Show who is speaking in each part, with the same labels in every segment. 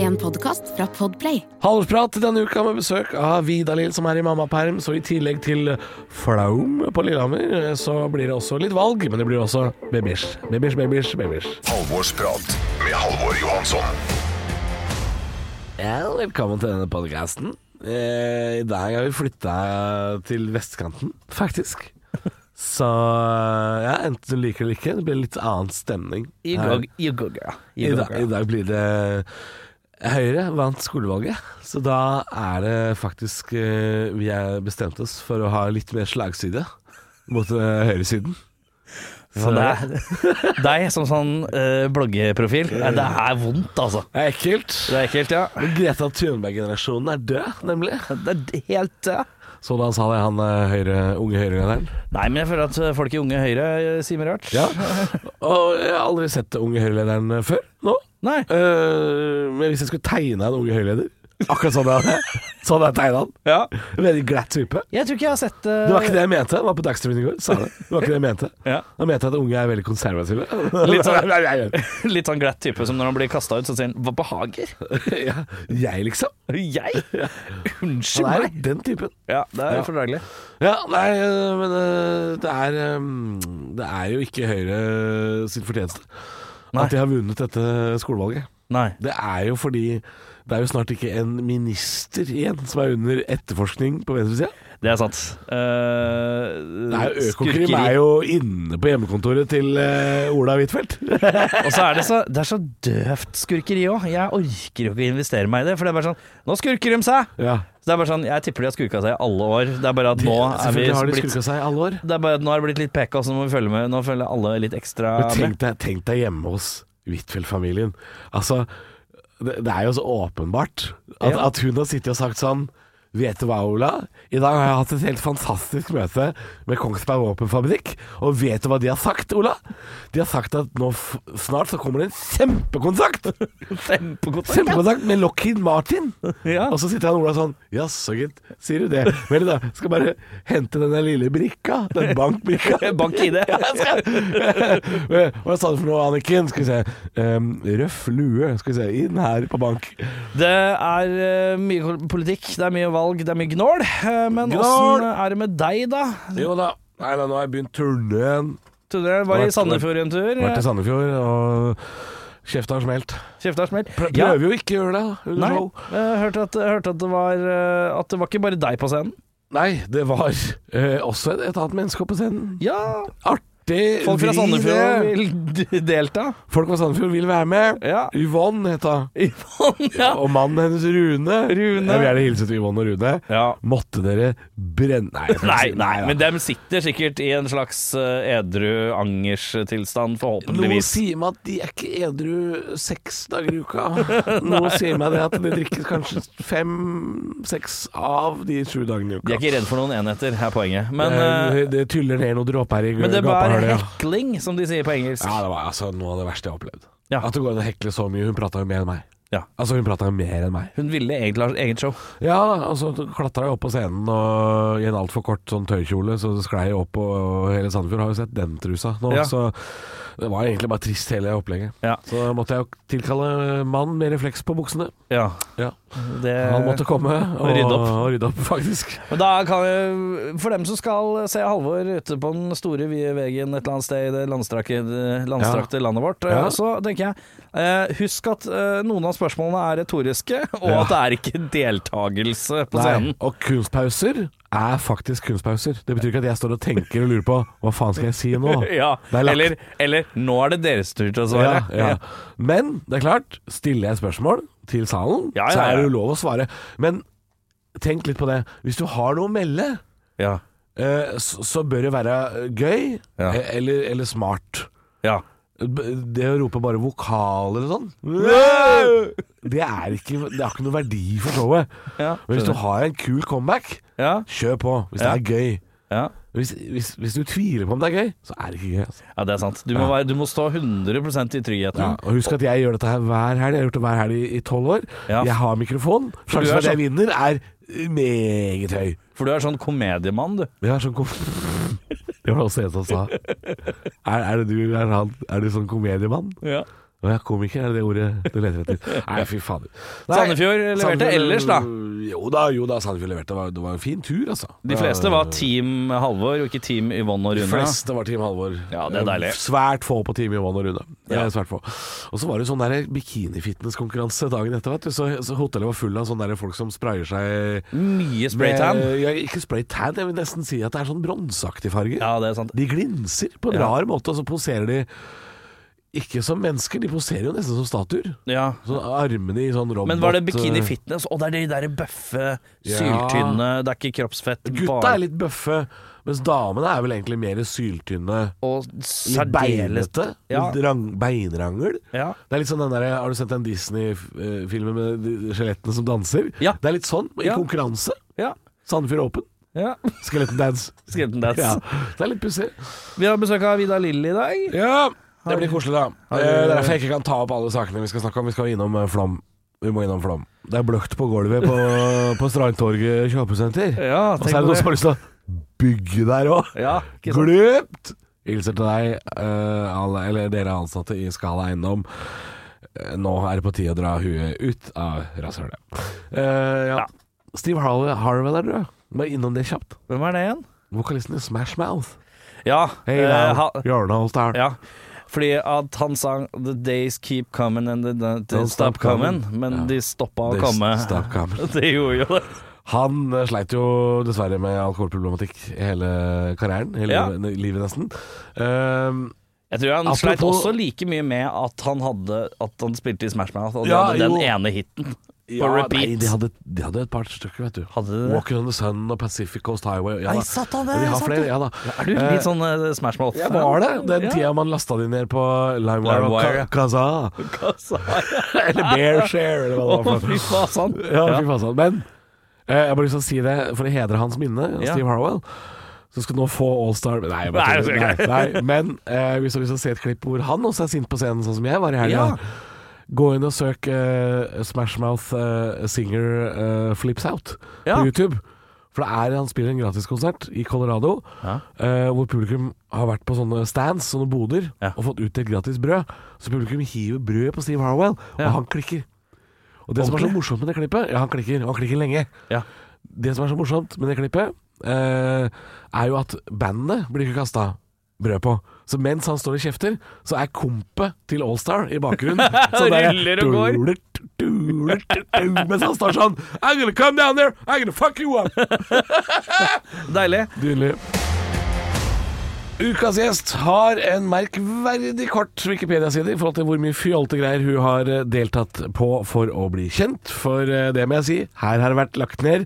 Speaker 1: En podkast fra Podplay.
Speaker 2: Halvprat denne uka med besøk av Vidalil som er i mammaperm, så i tillegg til Flaum på Lillehammer, så blir det også litt valg, men det blir også babysj, babysj, babysj, babysj.
Speaker 3: Halvorsprat med Halvor Johansson.
Speaker 2: Ja, velkommen til denne podcasten. Eh, I dag har vi flytta til vestkanten, faktisk. Så ja, enten du liker det eller ikke, det blir litt annen stemning.
Speaker 4: I
Speaker 2: her.
Speaker 4: gog- i gogga. I
Speaker 2: I, dag,
Speaker 4: gogga.
Speaker 2: I dag blir det Høyre vant skolevalget, så da er det faktisk eh, Vi har bestemt oss for å ha litt mer slagside mot eh, høyresiden.
Speaker 4: Så det er- Deg som sånn eh, bloggeprofil, eh, det er vondt, altså.
Speaker 2: Det er ekkelt.
Speaker 4: Det er ekkelt, ja.
Speaker 2: Men Greta Thunberg-generasjonen er død, nemlig.
Speaker 4: Det er helt eh.
Speaker 2: Så da sa det han eh, høyre, unge høyrelederen.
Speaker 4: Nei, men jeg føler at eh, folk i Unge Høyre eh, sier mye rart.
Speaker 2: Ja. Og jeg har aldri sett unge høyrelederen eh, før nå.
Speaker 4: Nei.
Speaker 2: Eh, men hvis jeg skulle tegne en unge høyreleder Akkurat sånn jeg hadde Sånn jeg tegna han.
Speaker 4: Ja.
Speaker 2: Veldig glatt type.
Speaker 4: Jeg tror ikke jeg har sett eh,
Speaker 2: Det var ikke det jeg mente. Det var på Dagsrevyen i går. Sa det. det var ikke det jeg mente.
Speaker 4: Ja.
Speaker 2: Da mente jeg at unge er veldig konservative.
Speaker 4: Litt sånn-
Speaker 2: Nei, nei, nei.
Speaker 4: Litt sånn glatt type som når han blir kasta ut, så sier han 'hva behager'?
Speaker 2: ja, jeg, liksom.
Speaker 4: Jeg? Unnskyld
Speaker 2: Han er
Speaker 4: meg.
Speaker 2: den typen.
Speaker 4: Ja, det er
Speaker 2: Ja.
Speaker 4: fordragelig.
Speaker 2: Ja, nei, eh, men eh, det er eh, Det er jo ikke Høyre eh, sin fortjeneste
Speaker 4: Nei.
Speaker 2: at de har vunnet dette skolevalget.
Speaker 4: Nei.
Speaker 2: Det er jo fordi det er jo snart ikke en minister igjen som er under etterforskning på venstresida.
Speaker 4: Det er sant. Eh, Uh,
Speaker 2: Det er jo Økokrim er jo inne på hjemmekontoret til eh, Ola Huitfeldt.
Speaker 4: Og så er det så, det er så døvt skurkeri òg. Jeg orker jo ikke å investere meg i det. For det er bare sånn Nå skurker de seg!
Speaker 2: Ja.
Speaker 4: Så det er bare sånn Jeg tipper de har skurka seg i alle år. Det er bare at nå er vi
Speaker 2: Selvfølgelig har de
Speaker 4: blitt
Speaker 2: skurka seg i alle år.
Speaker 4: det er bare at nå har det blitt litt peka, så nå må vi følge med. Nå følger alle litt ekstra
Speaker 2: Men
Speaker 4: med.
Speaker 2: tenk deg, tenk deg hjemme hos Huitfeldt-familien. Altså, det, det er jo så åpenbart at,
Speaker 4: Ja.
Speaker 2: at hun har sittet og sagt sånn Vet du hva, Ola? I dag har jeg hatt et helt fantastisk møte med Kongsberg Våpenfabrikk. Og vet du hva de har sagt, Ola? De har sagt at nå f snart så kommer det en kjempekontrakt! Kjempekontrakt med Lockheed Martin!
Speaker 4: Ja.
Speaker 2: Og så sitter han Ola sånn Jaså, gitt. Sier du det? Vel, da. Skal bare hente den der lille brikka. Den bankbrikka.
Speaker 4: Bank i det.
Speaker 2: altså. Hva sa du for noe, Anniken? Skal vi se. Ehm, røff lue. Skal vi se. Inn her på bank.
Speaker 4: Det er eh, mye politikk, det er mye valg, det er mye gnål. Eh, Men
Speaker 2: Gnål!
Speaker 4: åssen er det med deg, da?
Speaker 2: Jo da. Nei da, nå har jeg begynt turneen.
Speaker 4: Tore var
Speaker 2: Vært-
Speaker 4: i Sandefjord en tur.
Speaker 2: Vært i Sandefjord, og kjefta har smelt.
Speaker 4: Kjefta har smelt. Ja.
Speaker 2: Prøver jo ikke å gjøre det. under
Speaker 4: Nei,
Speaker 2: show.
Speaker 4: jeg hørte at, jeg hørte at det var eh, At det var ikke bare deg på scenen.
Speaker 2: Nei, det var eh, også et annet menneske på scenen.
Speaker 4: Ja,
Speaker 2: Artig.
Speaker 4: Folk fra
Speaker 2: vri
Speaker 4: Sandefjord
Speaker 2: det.
Speaker 4: vil d- delta.
Speaker 2: Folk fra Sandefjord vil være med.
Speaker 4: Ja.
Speaker 2: Yvonne het hun.
Speaker 4: Yvonne, ja.
Speaker 2: Og mannen hennes Rune.
Speaker 4: Rune.
Speaker 2: Jeg vil gjerne hilse til Yvonne og Rune.
Speaker 4: ja.
Speaker 2: Måtte dere brenne Nei, jeg skal ikke
Speaker 4: Nei,
Speaker 2: si-
Speaker 4: nei,
Speaker 2: da.
Speaker 4: men dem sitter sikkert i en slags eh, edru angerstilstand,
Speaker 2: Noe
Speaker 4: forhåpentligvis.
Speaker 2: sier meg at de er ikke edru seks dager i uka. Noe sier meg det at de drikker kanskje fem-seks av de sju dagene i uka.
Speaker 4: De er ikke redd for noen enheter, er poenget. Men,
Speaker 2: Eh,
Speaker 4: eh,
Speaker 2: det, det tyller ned noen dråper i
Speaker 4: men det var
Speaker 2: gapahølet. Ja.
Speaker 4: hekling, som de sier på engelsk.
Speaker 2: ja, det var altså noe av det verste jeg har opplevd.
Speaker 4: Ja.
Speaker 2: At det går an å hekle så mye. Hun prata jo mer enn meg.
Speaker 4: Ja.
Speaker 2: Altså, hun prata jo mer enn meg.
Speaker 4: Hun ville egentlig ha eget show.
Speaker 2: Ja, og så klatra jeg opp på scenen og i en altfor kort sånn tøykjole, så det sklei jeg opp, og hele Sandefjord har jo sett den trusa nå,
Speaker 4: Ja.
Speaker 2: så det var egentlig bare trist hele opplegget.
Speaker 4: Ja.
Speaker 2: Så da måtte jeg jo tilkalle mannen med refleks på buksene.
Speaker 4: Ja,
Speaker 2: Ja.
Speaker 4: det,
Speaker 2: Han måtte komme og,
Speaker 4: Eh, rydde opp.
Speaker 2: og rydde opp, faktisk.
Speaker 4: Men da kan jeg, For dem som skal se Halvor ute på den store vide veien et eller annet sted i det landstrakte, landstrakte landet vårt,
Speaker 2: Ja.
Speaker 4: så tenker jeg eh, Husk at eh, noen av spørsmålene er retoriske, og
Speaker 2: Ja.
Speaker 4: at det er ikke deltakelse på
Speaker 2: Nei.
Speaker 4: scenen.
Speaker 2: Og kunstpauser er faktisk kunstpauser. Det betyr ikke at jeg står og tenker og lurer på hva faen skal jeg si nå.
Speaker 4: Ja,
Speaker 2: Det er lagt.
Speaker 4: eller, eller 'nå er det deres tur til å svare'.
Speaker 2: Ja, ja. Men det er klart, stiller jeg spørsmål til salen,
Speaker 4: Ja, ja,
Speaker 2: så er det
Speaker 4: ja.
Speaker 2: jo lov å svare. Men tenk litt på det. Hvis du har noe å melde,
Speaker 4: Ja,
Speaker 2: eh, så, så bør det være eh, gøy
Speaker 4: Ja.
Speaker 2: eh, eller, eller smart.
Speaker 4: ja.
Speaker 2: B- Det å rope bare vokaler og sånn, det, er ikke, det har ikke noe verdi for showet.
Speaker 4: Ja,
Speaker 2: Men hvis du har en kul comeback,
Speaker 4: ja,
Speaker 2: kjør på hvis det
Speaker 4: Ja.
Speaker 2: er gøy.
Speaker 4: ja.
Speaker 2: Hvis, hvis, hvis du tviler på om det er gøy, så er det ikke gøy. Altså.
Speaker 4: ja, det er sant. Du må, være, du må stå 100 i tryggheten.
Speaker 2: Ja, og husk at jeg gjør dette her hver helg. Jeg har gjort det hver helg i- i tolv år.
Speaker 4: Ja.
Speaker 2: Jeg har mikrofon. Sjansen for at jeg
Speaker 4: sånn-
Speaker 2: vinner er meget høy.
Speaker 4: For du er sånn komediemann, du.
Speaker 2: Jeg er sånn kom... Det var det også en som sa. Er, er, det du, er, han, er du sånn komediemann?
Speaker 4: Ja.
Speaker 2: Å ja, komiker er det det ordet du leter etter. Nei, fy fader. Nei,
Speaker 4: Sandefjord leverte ellers, da.
Speaker 2: Jo da, jo da, Sandefjord leverte. Det var, det var en fin tur, altså.
Speaker 4: De fleste var Team Halvor, og ikke Team Yvonne og
Speaker 2: De
Speaker 4: Rune.
Speaker 2: fleste var Team Halvor.
Speaker 4: Ja, det er deilig.
Speaker 2: Svært få på Team Yvonne og Rune. Det er
Speaker 4: Ja.
Speaker 2: Svært få. Og så var det sånn der bikinifitness-konkurranse dagen etter. Vet du. Så, så hotellet var full av sånne der folk som sprayer seg
Speaker 4: Mye spraytan.
Speaker 2: med- Ja, ikke spraytan, jeg vil nesten si at det er sånn bronseaktig farge.
Speaker 4: Ja, det er sant.
Speaker 2: De glinser på en
Speaker 4: Ja.
Speaker 2: rar måte, og så poserer de ikke som mennesker, de poserer jo nesten som statuer.
Speaker 4: Ja.
Speaker 2: Sånn armene i sånn robot
Speaker 4: Men var det Bikini Fitness? Å, det er de der bøffe, syltynne Det er ikke kroppsfett.
Speaker 2: Gutta er litt bøffe, mens damene er vel egentlig mer syltynne.
Speaker 4: Og
Speaker 2: Litt
Speaker 4: særdeles
Speaker 2: beinete.
Speaker 4: Ja.
Speaker 2: Litt rang, beinrangel.
Speaker 4: Ja.
Speaker 2: Det er litt sånn den der, Har du sett den Disney-filmen med de skjelettene som danser?
Speaker 4: Ja.
Speaker 2: Det er litt sånn, i
Speaker 4: Ja.
Speaker 2: konkurranse.
Speaker 4: ja.
Speaker 2: Sandefjord Åpen.
Speaker 4: ja.
Speaker 2: Skelettendance.
Speaker 4: Skrevet en dats.
Speaker 2: Ja, det er litt pussig.
Speaker 4: Vi har besøk av Vidar Lill i dag.
Speaker 2: Ja, det blir koselig, da. Eh,
Speaker 4: har du-
Speaker 2: Det er derfor jeg ikke kan ta opp alle sakene vi skal snakke om. Vi skal innom eh, Flåm. Vi må innom Flåm. Det er bløkt på gulvet på, på Strandtorget kjøpesenter.
Speaker 4: Ja,
Speaker 2: Og så er det noen som har lyst til å bygge der òg.
Speaker 4: Ja, ikke sant.
Speaker 2: Glupt! Hilser til deg, eh, alle, eller dere ansatte i Skala Eiendom. Eh, Nå er det på tide å dra huet ut av rasshølet. Eh, ja.
Speaker 4: Ja.
Speaker 2: Steve Harwell, Harwell er død. Må innom det kjapt.
Speaker 4: Hvem er det igjen?
Speaker 2: Vokalisten i Smash Mouth.
Speaker 4: Ja.
Speaker 2: Hey,
Speaker 4: eh,
Speaker 2: now,
Speaker 4: ha,
Speaker 2: you're not there.
Speaker 4: ja. Fordi at han sang 'The days keep coming and the don't,
Speaker 2: Don't
Speaker 4: stop
Speaker 2: stop coming».
Speaker 4: coming', men
Speaker 2: Ja.
Speaker 4: de stoppa å
Speaker 2: They
Speaker 4: komme.
Speaker 2: stop coming.
Speaker 4: Det gjorde jo det.
Speaker 2: Han eh, sleit jo dessverre med alkoholproblematikk hele karrieren, hele
Speaker 4: Ja.
Speaker 2: livet, livet nesten. Ehm,
Speaker 4: Jeg tror han
Speaker 2: Apropos-
Speaker 4: sleit også like mye med at han, hadde, at han spilte i Smash Mouth, og de
Speaker 2: Ja,
Speaker 4: hadde den
Speaker 2: jo.
Speaker 4: ene hiten.
Speaker 2: ja,
Speaker 4: repeat.
Speaker 2: Nei, de hadde, de hadde et par stykker, vet du.
Speaker 4: Hadde de det?
Speaker 2: Walking on the Sun og Pacific Coast Highway. Ja,
Speaker 4: Nei,
Speaker 2: da.
Speaker 4: satt han
Speaker 2: Men
Speaker 4: det,
Speaker 2: de har
Speaker 4: satt
Speaker 2: flere,
Speaker 4: det.
Speaker 2: ja da.
Speaker 4: Er du
Speaker 2: Eh,
Speaker 4: litt sånn eh, Smash Mouth?
Speaker 2: jeg var det den
Speaker 4: Ja.
Speaker 2: tida man lasta de ned på LimeWire og
Speaker 4: LimeWire, ja.
Speaker 2: Ka- Kaza.
Speaker 4: Hva sa jeg?
Speaker 2: Eller Bearshare, eller hva det
Speaker 4: Å,
Speaker 2: var. for
Speaker 4: fy
Speaker 2: noe.
Speaker 4: faen, sant?
Speaker 2: Ja, fy faen sant. Men eh, jeg har bare lyst til å si det for å hedre hans minne,
Speaker 4: Ja.
Speaker 2: Steve Harwell. Så skal du nå få Allstar Nei, jeg bare
Speaker 4: Nei,
Speaker 2: tuller.
Speaker 4: jeg skal
Speaker 2: nei, nei, men eh, hvis du har lyst til å se et klipp hvor han også er sint på scenen, sånn som jeg var i helga,
Speaker 4: Ja.
Speaker 2: gå inn og søk eh, Smashmouth eh, Singer eh, Flips Out
Speaker 4: Ja.
Speaker 2: på YouTube. For det er han spiller en gratiskonsert i Colorado,
Speaker 4: Ja.
Speaker 2: eh, hvor publikum har vært på sånne stands, sånne boder,
Speaker 4: Ja.
Speaker 2: og fått utdelt gratis brød. Så publikum hiver brød på Steve Harwell,
Speaker 4: Ja.
Speaker 2: og han klikker. Og det som er så
Speaker 4: Ordentlig?
Speaker 2: morsomt med det klippet Ja, han klikker, og han klikker lenge.
Speaker 4: Ja.
Speaker 2: Det som er så morsomt med det klippet, eh, er jo at bandet blir ikke kasta brød på. Så mens han står og kjefter, så er kompet til Allstar i bakgrunnen. Så
Speaker 4: Ruller og går.
Speaker 2: "Duler, duler, duler," Mens han står sånn I'm gonna come down there, I'm gonna fuck you up.
Speaker 4: Deilig.
Speaker 2: Dyrlig. Ukas gjest har en merkverdig kort Wikipedia-side i forhold til hvor mye fjolte greier hun har eh, deltatt på for å bli kjent. For eh, det må jeg si, her har det vært lagt ned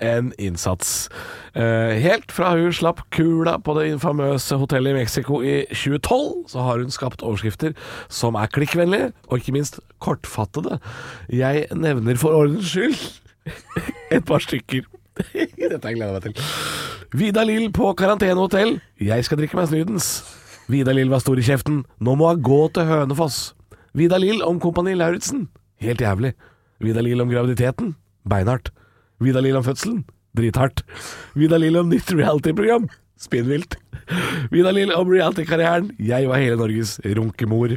Speaker 2: en innsats. Eh, Helt fra hun slapp kula på det infamøse hotellet i Mexico i 2012, så har hun skapt overskrifter som er klikkvennlige, og ikke minst kortfattede. Jeg nevner for ordens skyld et par stykker. Dette har jeg gleda meg til. Vida Lill på karantenehotell. Jeg skal drikke meg snydens. Vida Lill var stor i kjeften. Nå må hun gå til Hønefoss. Vida Lill om Kompani Lauritzen. Helt jævlig. Vida Lill om graviditeten. Beinhardt. Vida Lill om fødselen. Drithardt. Vida Lill om nytt reality-program. Spinnvilt. Vida Lill om reality-karrieren. Jeg var hele Norges runkemor.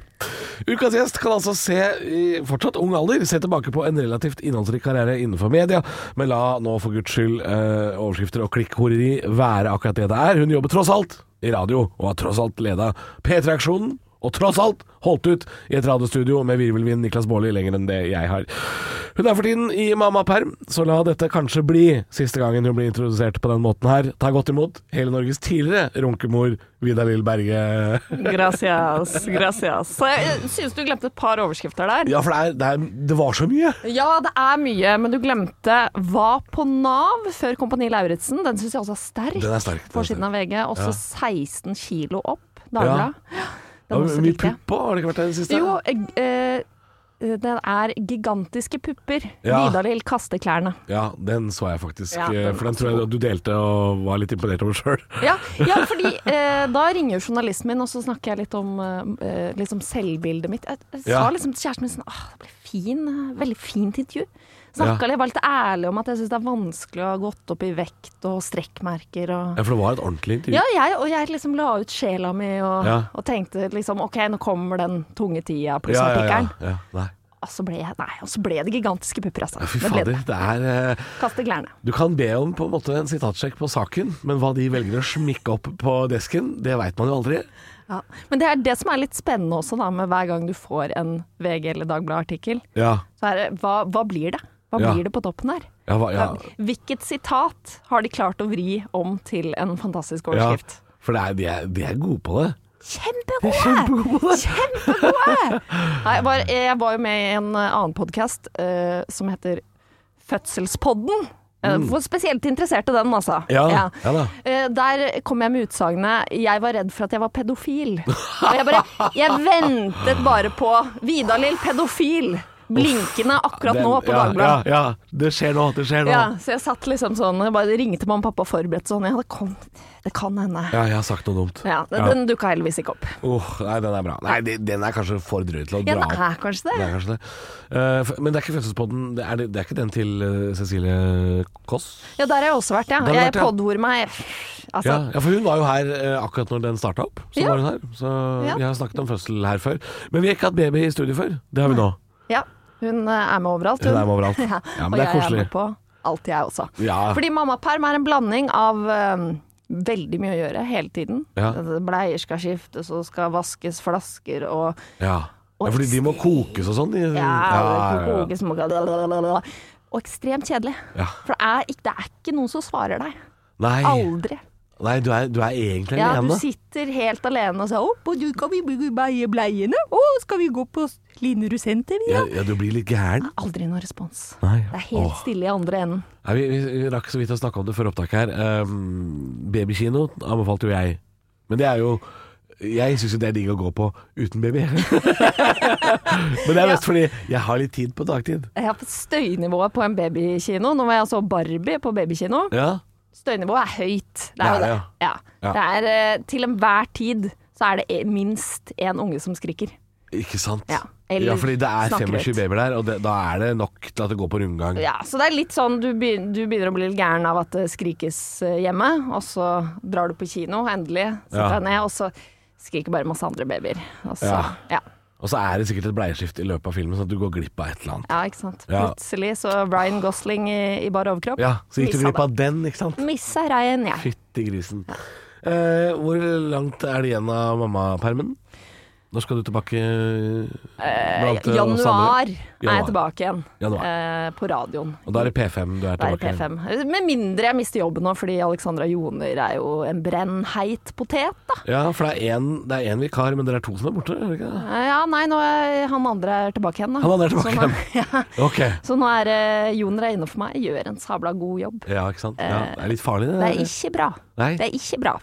Speaker 2: Ukas gjest kan altså se, i fortsatt ung alder, se tilbake på en relativt innholdsrik karriere innenfor media, men la nå for guds skyld eh, overskrifter og klikkhoreri være akkurat det det er. Hun jobber tross alt i radio, og har tross alt leda P3-aksjonen, og tross alt holdt ut i et radiostudio med virvelvind Niklas Baarli lenger enn det jeg har. Hun er for tiden i mammaperm, så la dette kanskje bli siste gangen hun blir introdusert på den måten her. Ta godt imot hele Norges tidligere runkemor, Vidar Lill Berge.
Speaker 5: Gracias, gracias. Så jeg synes du glemte et par overskrifter der.
Speaker 2: Ja, for det, er, det, er, det var så mye.
Speaker 5: Ja, det er mye, men du glemte Hva på Nav før Kompani Lauritzen. Den syns jeg også er sterk.
Speaker 2: Den er sterk, den er
Speaker 5: Forsiden
Speaker 2: sterk.
Speaker 5: av VG. Også
Speaker 2: Ja.
Speaker 5: 16 kilo opp. Dagbladet.
Speaker 2: Det
Speaker 5: Den
Speaker 2: var
Speaker 5: også
Speaker 2: mye
Speaker 5: likte jeg.
Speaker 2: pupp òg, har det ikke vært det i det siste?
Speaker 5: Jo, eh, eh, den er gigantiske pupper.
Speaker 2: Ja.
Speaker 5: Vidar-Lill kaster klærne.
Speaker 2: Ja, den så jeg faktisk.
Speaker 5: Ja,
Speaker 2: eh,
Speaker 5: den
Speaker 2: for den tror jeg du delte og var litt imponert over sjøl.
Speaker 5: Ja, ja fordi eh, da ringer journalisten min, og så snakker jeg litt om eh, liksom selvbildet mitt. Jeg, jeg
Speaker 2: Ja.
Speaker 5: sa liksom til kjæresten min sånn Åh, det ble fin, eh, veldig fint intervju. Snakka litt, var litt ærlig om at jeg syns det er vanskelig å ha gått opp i vekt og strekkmerker og
Speaker 2: Ja, for det var et ordentlig intervju.
Speaker 5: Ja, jeg, og jeg liksom la ut sjela mi og,
Speaker 2: Ja.
Speaker 5: og tenkte liksom OK, nå kommer den tunge tida pluss
Speaker 2: ja, ja,
Speaker 5: artikkelen.
Speaker 2: ja. Nei.
Speaker 5: Og så ble jeg Nei, og så ble det gigantiske pupper, altså.
Speaker 2: Ja, fy
Speaker 5: Det ble
Speaker 2: fader.
Speaker 5: det.
Speaker 2: Det er eh,
Speaker 5: Kaste klærne.
Speaker 2: Du kan be om på en måte en sitatsjekk på saken, men hva de velger å smikke opp på desken, det veit man jo aldri.
Speaker 5: Ja. Men det er det som er litt spennende også, da, med hver gang du får en VG eller Dagbladet-artikkel.
Speaker 2: Ja.
Speaker 5: Så er det hva, hva blir det? Hva
Speaker 2: Ja.
Speaker 5: blir det på toppen her?
Speaker 2: Ja, hva- ja.
Speaker 5: Hvilket sitat har de klart å vri om til en fantastisk
Speaker 2: ja.
Speaker 5: overskrift?
Speaker 2: For det er, de, er, de er gode på det.
Speaker 5: Kjempegode! Kjempegode! Nei, jeg, var, jeg var jo med i en eh, annen podkast som heter Fødselspodden. Eh, For spesielt interesserte den, altså.
Speaker 2: Mm. Ja, ja da.
Speaker 5: Eh, Der kom jeg med utsagnet 'jeg var redd for at jeg var pedofil'. Og jeg bare Jeg ventet bare på Vidar-Lill pedofil blinkende akkurat nå på
Speaker 2: ja,
Speaker 5: Dagbladet.
Speaker 2: ja, ja. Det skjer nå, det skjer nå.
Speaker 5: Ja, så jeg satt liksom sånn, jeg bare ringte mamma og pappa og forberedte sånn. Ja, det, kom, det kan hende. Ja.
Speaker 2: Ja, jeg har sagt noe dumt.
Speaker 5: den, den dukka heldigvis ikke opp.
Speaker 2: Åh, nei, den er bra. Nei, de- den er kanskje for drøy til å dra
Speaker 5: Ja, den
Speaker 2: opp.
Speaker 5: er kanskje
Speaker 2: Det
Speaker 5: det.
Speaker 2: er kanskje det. Eh, for- men det er ikke Fødselspodden det er, det, det er ikke den til eh, Cecilie Koss?
Speaker 5: Ja, der har jeg også vært, ja.
Speaker 2: Der har du
Speaker 5: Jeg
Speaker 2: vært, ja.
Speaker 5: podhor meg Altså,
Speaker 2: Ja, ja, for hun var jo her eh, akkurat når den starta opp. Så
Speaker 5: Ja.
Speaker 2: var hun her. Så
Speaker 5: Ja.
Speaker 2: vi har snakket om fødsel her før. Men vi har ikke hatt baby i studio før. Det har vi nå.
Speaker 5: ja. Hun eh, er med overalt,
Speaker 2: Hun er med overalt.
Speaker 5: Ja,
Speaker 2: Ja, men det
Speaker 5: og
Speaker 2: er
Speaker 5: jeg er
Speaker 2: koselig.
Speaker 5: med på alt, jeg også.
Speaker 2: Ja.
Speaker 5: Fordi mammaperm er en blanding av eh, veldig mye å gjøre hele tiden.
Speaker 2: Ja.
Speaker 5: Bleier skal skiftes og skal vaskes flasker og
Speaker 2: ja. ja, fordi de må kokes og sånn. de- ja,
Speaker 5: Ja,
Speaker 2: ja, ja.
Speaker 5: kokes må- Og ekstremt kjedelig.
Speaker 2: Ja.
Speaker 5: For det er, ikke, det er ikke noen som svarer deg.
Speaker 2: Nei,
Speaker 5: Aldri.
Speaker 2: nei du, er, du er egentlig
Speaker 5: Ja, du
Speaker 2: alene.
Speaker 5: sitter helt alene og sier 'Å, på- du- kan vi beie bleiene? Å, skal vi gå på Linerud senter, vi,
Speaker 2: Ja,
Speaker 5: da?'
Speaker 2: ja, du blir litt gæren.
Speaker 5: Aldri noen respons.
Speaker 2: Nei.
Speaker 5: Det er helt
Speaker 2: Åh.
Speaker 5: stille i andre enden.
Speaker 2: Nei, vi, vi rakk så vidt å snakke om det før opptaket her. Um, babykino anbefalte jo jeg. Men det er jo Jeg syns jo det er digg å gå på uten baby. Men det er mest fordi jeg har litt tid på dagtid.
Speaker 5: Jeg har fått støynivået på en babykino. Nå var jeg så Barbie på babykino.
Speaker 2: Ja,
Speaker 5: Støynivået er høyt. Det
Speaker 2: Det
Speaker 5: er
Speaker 2: er
Speaker 5: jo
Speaker 2: det,
Speaker 5: det. Ja.
Speaker 2: Ja.
Speaker 5: Det er eh, til enhver tid så er det eh, minst én unge som skriker.
Speaker 2: ikke sant?
Speaker 5: Ja, eller
Speaker 2: ja fordi det er
Speaker 5: snakker
Speaker 2: 25
Speaker 5: høyt.
Speaker 2: babyer der, og det, da er det nok til at det går på rundgang.
Speaker 5: Ja, så det er litt sånn du begynner, du begynner å bli litt gæren av at det skrikes eh, hjemme, og så drar du på kino, endelig,
Speaker 2: Ja.
Speaker 5: setter deg ned, og så skriker bare masse andre babyer. Og så,
Speaker 2: Ja.
Speaker 5: ja.
Speaker 2: Og så er det sikkert et bleieskift i løpet av filmen, sånn at du går glipp av et eller annet.
Speaker 5: ja, ikke sant.
Speaker 2: Ja.
Speaker 5: Plutselig så Ryan Gosling i, i bar overkropp.
Speaker 2: Ja, Så gikk du
Speaker 5: Missa
Speaker 2: glipp av den, ikke sant?
Speaker 5: det. Missa Ryan, jeg.
Speaker 2: Fytti grisen. Eh, hvor langt er det igjen av mammapermen? Når skal du tilbake? blant, eh, oss andre?
Speaker 5: Januar er
Speaker 2: Januar.
Speaker 5: jeg tilbake igjen
Speaker 2: Januar.
Speaker 5: eh, på radioen.
Speaker 2: Og da er det P5 du er
Speaker 5: Det er i
Speaker 2: tilbake
Speaker 5: P5. Med mindre jeg mister jobben nå, fordi Alexandra Joner er jo en brennheit potet, da.
Speaker 2: Ja, for det er én- det er én vikar, men dere er to som er borte? Er det ikke det?
Speaker 5: Eh, Ja, nei, nå er han andre er tilbake igjen, da.
Speaker 2: Han andre er tilbake
Speaker 5: Så nå- ja.
Speaker 2: Ok.
Speaker 5: Så nå er eh, Joner er inne for meg, gjør en sabla god jobb.
Speaker 2: Ja, ikke sant. Ja, det er litt farlig, det.
Speaker 5: Eh, Det er ikke bra.
Speaker 2: Nei.
Speaker 5: Det er ikke bra.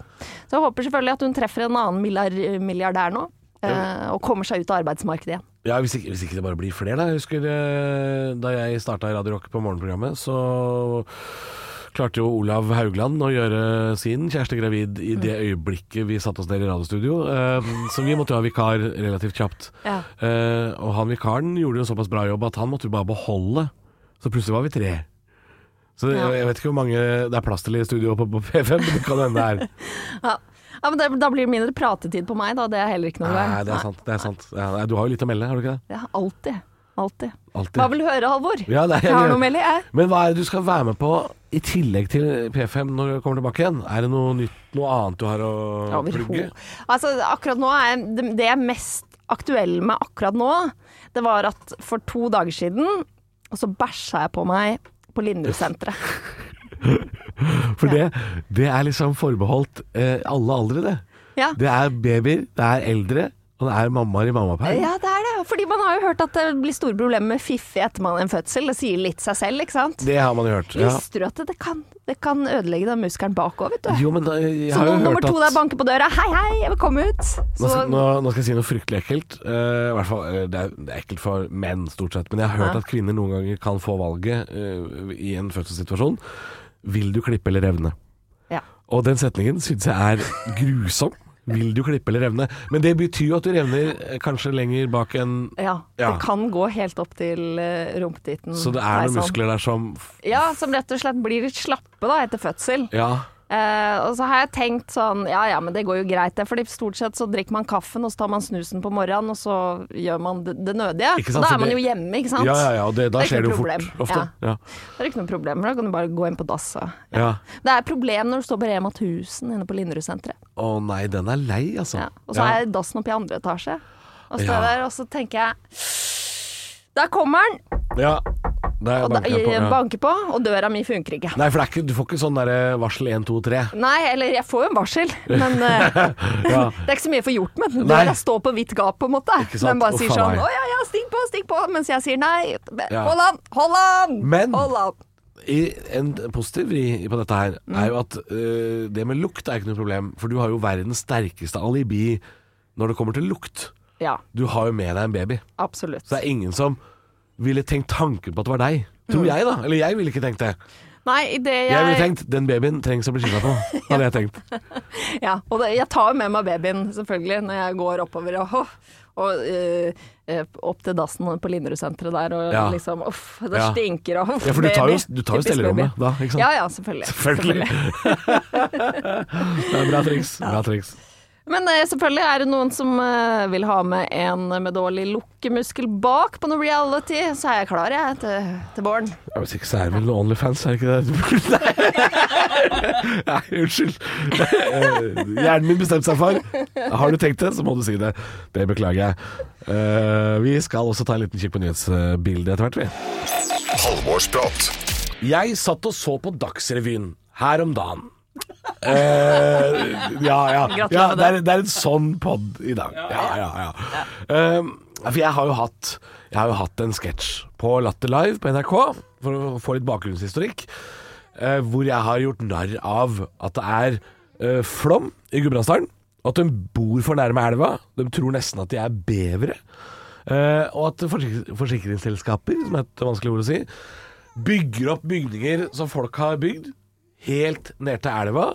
Speaker 5: Så jeg håper selvfølgelig at hun treffer en annen milliard- milliardær nå, eh, og kommer seg ut av arbeidsmarkedet igjen.
Speaker 2: Ja, hvis ikke, hvis ikke det bare blir flere, da. Jeg husker eh, da jeg starta i Radio Rock på morgenprogrammet, så klarte jo Olav Haugland å gjøre sin kjæreste gravid i det øyeblikket vi satte oss ned i radiostudio. eh, Så vi måtte jo ha vikar relativt kjapt.
Speaker 5: Ja.
Speaker 2: Eh, Og han vikaren gjorde jo en såpass bra jobb at han måtte jo bare beholde. Så plutselig var vi tre. Så
Speaker 5: Ja.
Speaker 2: jeg, jeg vet ikke hvor mange det er plass til i studio på, på P5, men det kan hende det er
Speaker 5: Ja. ja, men det, Da blir det mindre pratetid på meg, da. Det er heller ikke noe
Speaker 2: Nei, det er sant. Det er sant. Ja, nei, du har jo litt å melde, har du ikke det?
Speaker 5: Ja, alltid. Alltid.
Speaker 2: Alltid.
Speaker 5: Hva vil du høre, Halvor?
Speaker 2: Ja, nei,
Speaker 5: jeg har noe å melde, jeg.
Speaker 2: Men hva er det du skal være med på i tillegg til P5 når du kommer tilbake igjen? Er det noe nytt, noe annet du har å plugge?
Speaker 5: Overhodet. Altså, akkurat nå er det, det jeg er mest aktuell med akkurat nå, det var at for to dager siden så bæsja jeg på meg på Linderud-senteret.
Speaker 2: For det, det er liksom forbeholdt eh, alle aldre, det.
Speaker 5: Ja.
Speaker 2: Det er babyer, det er eldre, og det er mammaer i mammaperm.
Speaker 5: ja, det er det. Fordi man har jo hørt at det blir store problemer med fiffig etter man er en fødsel. Det sier litt seg selv, ikke sant?
Speaker 2: Det har man jo hørt. Ja.
Speaker 5: Visste du at det kan, det kan ødelegge den muskelen bakover, vet du?
Speaker 2: Jo, men da, jeg
Speaker 5: Så
Speaker 2: har jo
Speaker 5: når nummer
Speaker 2: hørt
Speaker 5: to der
Speaker 2: at
Speaker 5: banker på døra, hei hei, jeg vil komme
Speaker 2: nå
Speaker 5: ut. Så,
Speaker 2: skal, nå, nå skal jeg si noe fryktelig ekkelt. eh, i hvert fall, eh, det, er, det er ekkelt for menn, stort sett. Men jeg har hørt
Speaker 5: Ja.
Speaker 2: at kvinner noen ganger kan få valget eh, i en fødselssituasjon. Vil du klippe eller revne?
Speaker 5: ja.
Speaker 2: Og den setningen syns jeg er grusom. Vil du klippe eller revne? Men det betyr jo at du revner eh, kanskje lenger bak enn
Speaker 5: Ja,
Speaker 2: Ja.
Speaker 5: Det kan gå helt opp til eh, rumpetitten.
Speaker 2: Så det er
Speaker 5: Nei,
Speaker 2: noen
Speaker 5: sånn.
Speaker 2: muskler der som f-
Speaker 5: Ja, som rett og slett blir litt slappe da, etter fødsel.
Speaker 2: Ja.
Speaker 5: Eh, og så har jeg tenkt sånn, ja ja, men det går jo greit det, fordi stort sett så drikker man kaffen, og så tar man snusen på morgenen, og så gjør man det, det nødige.
Speaker 2: Ikke
Speaker 5: Og
Speaker 2: sant,
Speaker 5: da
Speaker 2: så
Speaker 5: er man
Speaker 2: det-
Speaker 5: jo hjemme, ikke
Speaker 2: Ja,
Speaker 5: sant?
Speaker 2: ja, ja, og det, da
Speaker 5: Det er
Speaker 2: skjer
Speaker 5: ikke
Speaker 2: det jo
Speaker 5: noe
Speaker 2: fort.
Speaker 5: problem.
Speaker 2: Ofte. Ja.
Speaker 5: Det er ikke noe problem, da kan du bare gå inn på dass. og-
Speaker 2: Ja.
Speaker 5: Det er et problem når du står på Rema 1000 inne på Linderud-senteret.
Speaker 2: Å nei, den er lei, altså.
Speaker 5: Ja. Og så er dassen oppe i andre etasje. Og så,
Speaker 2: Ja.
Speaker 5: der, og så tenker jeg Der kommer den!
Speaker 2: Ja. Der
Speaker 5: Og da,
Speaker 2: banker jeg på. Ja.
Speaker 5: banker på, og døra mi funker ikke.
Speaker 2: Nei, for det er ikke, du får ikke sånn derre varsel 1, 2, 3.
Speaker 5: Nei, eller jeg får jo en varsel, men eh,
Speaker 2: Ja.
Speaker 5: det er ikke så mye jeg får gjort med den.
Speaker 2: Nei.
Speaker 5: Døra står på vidt gap, på en måte.
Speaker 2: Ikke sant?
Speaker 5: Den bare
Speaker 2: Å,
Speaker 5: sier
Speaker 2: faen
Speaker 5: sånn
Speaker 2: meg.
Speaker 5: Å ja, ja, stig på, stig på. Mens jeg sier nei.
Speaker 2: Ja. Mm.
Speaker 5: Hold an, hold an!
Speaker 2: Men-
Speaker 5: hold an.
Speaker 2: I, en positiv vri på dette her er jo at øh, det med lukt er ikke noe problem, for du har jo verdens sterkeste alibi når det kommer til lukt.
Speaker 5: Ja,
Speaker 2: Du har jo med deg en baby,
Speaker 5: absolutt.
Speaker 2: så det er ingen som ville tenkt tanken på at det var deg. Tror jeg, da. Eller jeg ville ikke tenkt det.
Speaker 5: Nei, det Mm. jeg,
Speaker 2: Jeg ville tenkt den babyen trengs å bli skifta på. Hadde jeg tenkt.
Speaker 5: Ja, og det, jeg tar jo med meg babyen, selvfølgelig, når jeg går oppover og, og eh, eh, opp til dassen på Linderud-senteret der, og
Speaker 2: Ja.
Speaker 5: liksom Uff, det
Speaker 2: Ja.
Speaker 5: stinker og uff,
Speaker 2: Ja, for du tar jo, du tar jo
Speaker 5: Typisk baby.
Speaker 2: stellerommet da, ikke sant?
Speaker 5: Ja ja, selvfølgelig.
Speaker 2: Selvfølgelig. det er bra triks. Bra triks.
Speaker 5: Men eh, selvfølgelig er det noen som eh, vil ha med en med dårlig lukkemuskel bak på noe reality, så er jeg klar, jeg, til, til våren.
Speaker 2: Ja, Hvis ikke så er det vel noen Onlyfans, er det ikke det? Nei, Nei unnskyld. Eh, Hjernen min bestemte seg for. Har du tenkt det, så må du si det. Det beklager jeg. Eh, Vi skal også ta en liten kikk på nyhetsbildet etter hvert, vi.
Speaker 3: Halvorsprat.
Speaker 2: Jeg satt og så på Dagsrevyen her om dagen. Eh, ja, ja. ja
Speaker 5: Gratulerer med
Speaker 2: det, er, det er en sånn pod i dag. Ja, ja, ja. Eh, for jeg har jo hatt Jeg har jo hatt en sketsj på Latter Live på NRK, for å få litt bakgrunnshistorikk, eh, hvor jeg har gjort narr av at det er eh, flom i Gudbrandsdalen, og at de bor for nærme elva. De tror nesten at de er bevere. Eh, og at forsik forsikringsselskaper, som er et vanskelig ord å si, bygger opp bygninger som folk har bygd, helt ned til elva,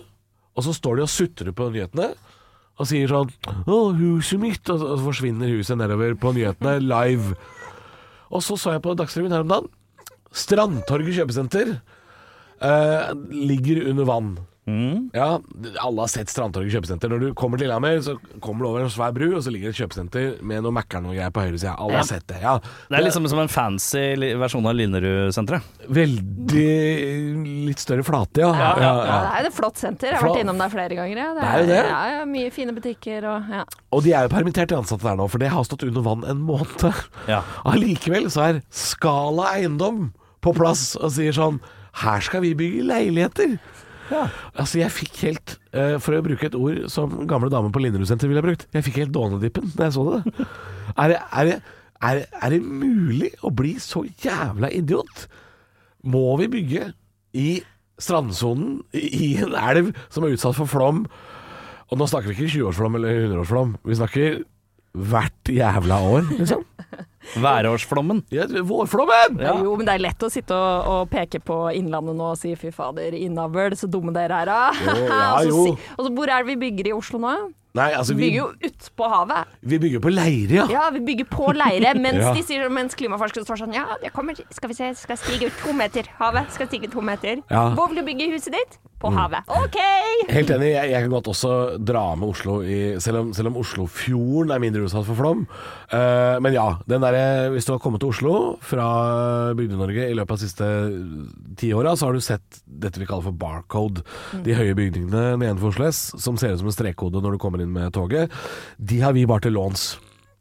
Speaker 2: og så står de og sutrer på nyhetene. Og sier sånn 'Å, huset mitt!' Og så og så forsvinner huset nedover på nyhetene live. Og så så jeg på Dagsrevyen her om dagen. Strandtorget kjøpesenter eh, ligger under vann.
Speaker 4: Mm.
Speaker 2: Ja, alle har sett Strandtorget kjøpesenter. Når du kommer til Lillehammer, så kommer du over en svær bru, og så ligger det et kjøpesenter med noe Mækkern og greier på høyresida. Alle har sett det. Ja.
Speaker 4: Det er liksom som en fancy li- versjon av Linderud-senteret.
Speaker 2: Veldig litt større flate, ja. ja, ja,
Speaker 5: Ja, det er jo et flott senter. Jeg har
Speaker 2: Flott.
Speaker 5: vært innom der flere ganger. jeg.
Speaker 2: Det er jo det.
Speaker 5: Ja, ja, mye fine butikker og ja.
Speaker 2: Og de er jo permittert, de ansatte der nå, for det har stått under vann en måned.
Speaker 4: Ja.
Speaker 2: Allikevel så er Skala Eiendom på plass og sier sånn Her skal vi bygge leiligheter. Altså, jeg fikk helt, eh, for å bruke et ord som gamle dame på Linderudsenteret ville ha brukt, jeg fikk helt dånedippen da jeg så det. er, det, er, det er, det- er det mulig å bli så jævla idiot? Må vi bygge i strandsonen, i i en elv som er utsatt for flom? Og nå snakker vi ikke 20-årsflom eller 100-årsflom, vi snakker hvert jævla år, liksom.
Speaker 4: Værårsflommen.
Speaker 2: Ja, vårflommen!
Speaker 4: Ja.
Speaker 5: Jo, men det er lett å sitte og, og peke på Innlandet nå og si fy fader, innavl, så dumme dere er da.
Speaker 2: Jo, ja,
Speaker 5: og, så
Speaker 2: jo.
Speaker 5: si, og så hvor er det vi bygger i Oslo nå?
Speaker 2: Nei, altså
Speaker 5: Vi
Speaker 2: vi,
Speaker 5: bygger jo utpå havet.
Speaker 2: vi bygger på leire, ja.
Speaker 5: Ja, vi bygger på leire, mens,
Speaker 2: Ja.
Speaker 5: de sier, mens klimaforskere står sånn Ja, jeg kommer, skal vi se, skal stige to meter. Havet skal stige to meter.
Speaker 2: Ja. Mm.
Speaker 5: Hvor vil du bygge huset ditt? På havet. OK!
Speaker 2: Helt enig, jeg, jeg kan godt også dra med Oslo i Selv om, selv om Oslofjorden er mindre utsatt for flom. Eh, men ja, den derre Hvis du har kommet til Oslo fra Bygde-Norge i løpet av de siste tiåra, så har du sett dette vi kaller for barcode.
Speaker 5: Mm.
Speaker 2: De høye bygningene nedenfor Oslo S, som ser ut som en strekkode når du kommer inn med toget, de har vi bare til låns.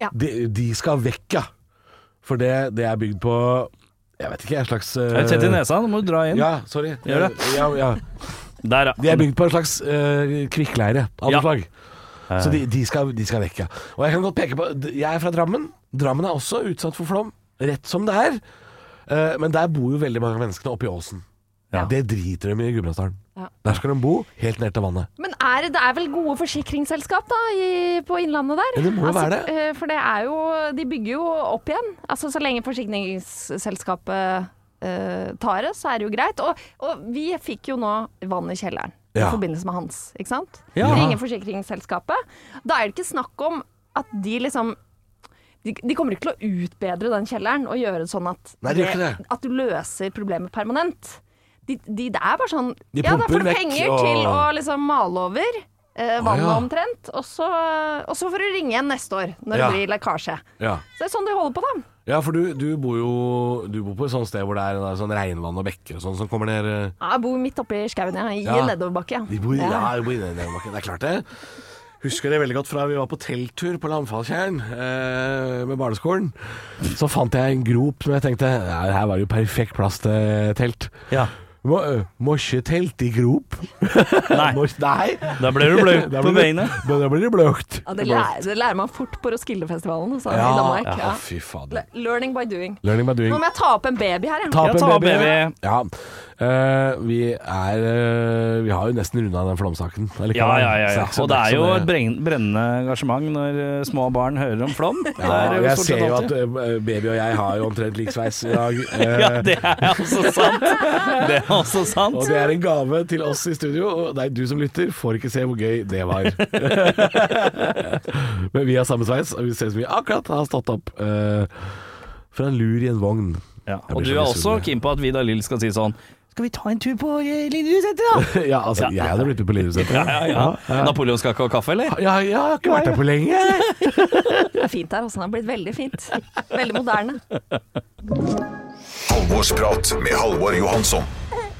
Speaker 5: Ja.
Speaker 2: De, de skal vekk, ja. For det, det er bygd på Jeg vet ikke, en slags
Speaker 4: Er du tett i
Speaker 2: eh,
Speaker 4: nesa? Nå må du dra inn.
Speaker 2: Ja, sorry. Eh,
Speaker 4: Gjør det.
Speaker 2: Ja, ja.
Speaker 4: Der,
Speaker 2: De er bygd på en slags eh, kvikkleire av noe
Speaker 4: Ja.
Speaker 2: slag. Så de, de, skal, de skal vekk, ja. Og jeg kan godt peke på Jeg er fra Drammen. Drammen er også utsatt for flom, rett som det er. Eh, men der bor jo veldig mange av menneskene oppe i åsen.
Speaker 4: Ja.
Speaker 2: Det driter de i i Gudbrandsdalen.
Speaker 5: Ja.
Speaker 2: Der skal de bo, helt ned til vannet.
Speaker 5: Men er, det- det er vel gode forsikringsselskap da, i, på Innlandet der?
Speaker 2: Ja, det må jo være det.
Speaker 5: eh, For det er jo De bygger jo opp igjen. Altså Så lenge forsikringsselskapet eh, tar det, så er det jo greit. Og, og vi fikk jo nå vann i kjelleren.
Speaker 2: Ja.
Speaker 5: i forbindelse med hans. Ikke sant?
Speaker 4: Ja.
Speaker 5: Ringer forsikringsselskapet. Da er det ikke snakk om at de liksom de, de kommer ikke til å utbedre den kjelleren og gjøre det sånn at,
Speaker 2: Nei, de gjør ikke det.
Speaker 5: at du løser problemet permanent. De, de, det er bare sånn
Speaker 2: De
Speaker 5: Ja, da
Speaker 2: pumper
Speaker 5: får du
Speaker 2: vekk
Speaker 5: penger
Speaker 2: og-
Speaker 5: til å liksom male over eh, vannet
Speaker 2: ja.
Speaker 5: omtrent, og så, og så får du ringe igjen neste år når
Speaker 2: Ja.
Speaker 5: det blir lekkasje.
Speaker 2: Ja.
Speaker 5: Så det er sånn de holder på, da.
Speaker 2: Ja, for du, du bor jo du bor på et sånt sted hvor det er en- sånn regnvann og bekker og sånn som kommer ned eh,
Speaker 5: Ja, jeg bor midt oppi skauen, jeg. I
Speaker 2: Ja.
Speaker 5: en nedoverbakke.
Speaker 2: De bor, ja. de bor inne i Nedoverbakken, det er klart det. Husker det veldig godt fra vi var på telttur på Landfalltjern eh, med barneskolen. Så fant jeg en grop som jeg tenkte ja, her var det jo perfekt plass til telt.
Speaker 4: Ja.
Speaker 2: Må, må ikke telt i grop.
Speaker 4: Nei,
Speaker 2: Må, nei.
Speaker 4: da blir du bløt
Speaker 2: Da
Speaker 4: på
Speaker 2: blir det-
Speaker 4: beina.
Speaker 2: Men da blir det bløkt.
Speaker 5: Ja, det, lærer, det lærer man fort på Roskildefestivalen altså, i
Speaker 2: Ja,
Speaker 5: Danmark.
Speaker 2: ja,
Speaker 5: Ja.
Speaker 2: fy fader.
Speaker 5: Learning by doing.
Speaker 2: Learning by doing.
Speaker 5: Nå må jeg ta opp en baby her, jeg.
Speaker 2: Ta opp
Speaker 4: Ja,
Speaker 2: en
Speaker 4: ta opp
Speaker 2: baby.
Speaker 4: baby.
Speaker 2: Ja. Eh, vi er eh, Vi har jo nesten runda den flomsaken. allikevel.
Speaker 4: Ja, ja, ja.
Speaker 2: Så
Speaker 4: ja.
Speaker 2: ikke så-
Speaker 4: Og det er
Speaker 2: ikke
Speaker 4: jo
Speaker 2: så
Speaker 4: et brenn- brennende engasjement når eh, små barn hører om flom. Det
Speaker 2: Ja,
Speaker 4: er jo
Speaker 2: jeg
Speaker 4: stort
Speaker 2: ser
Speaker 4: sett
Speaker 2: jo
Speaker 4: alltid.
Speaker 2: at eh, baby og jeg har jo omtrent lik sveis i dag. Eh,
Speaker 4: Ja, det er også sant. Det er også sant.
Speaker 2: Og det er en gave til oss i studio. Og deg, du som lytter, får ikke se hvor gøy det var. Men vi har samme sveis, og vi ser ut som vi akkurat har stått opp eh, fra en lur i en vogn.
Speaker 4: Ja,
Speaker 2: Jeg
Speaker 4: og
Speaker 2: blir
Speaker 4: du
Speaker 2: så
Speaker 4: er også
Speaker 2: misunnelig.
Speaker 4: keen på at Vidar Lill skal si sånn Skal vi ta en tur på eh, Lillehusetter, da?
Speaker 2: ja, altså,
Speaker 4: Ja.
Speaker 2: jeg hadde blitt med på Lillehuset.
Speaker 4: Ja, ja, ja. Napoleonskake og kaffe, eller?
Speaker 2: Ja, jeg har ikke vært der på lenge.
Speaker 5: Det er fint her, altså. Det har blitt veldig fint. Veldig moderne.
Speaker 3: Halvorsprat med Halvor Johansson.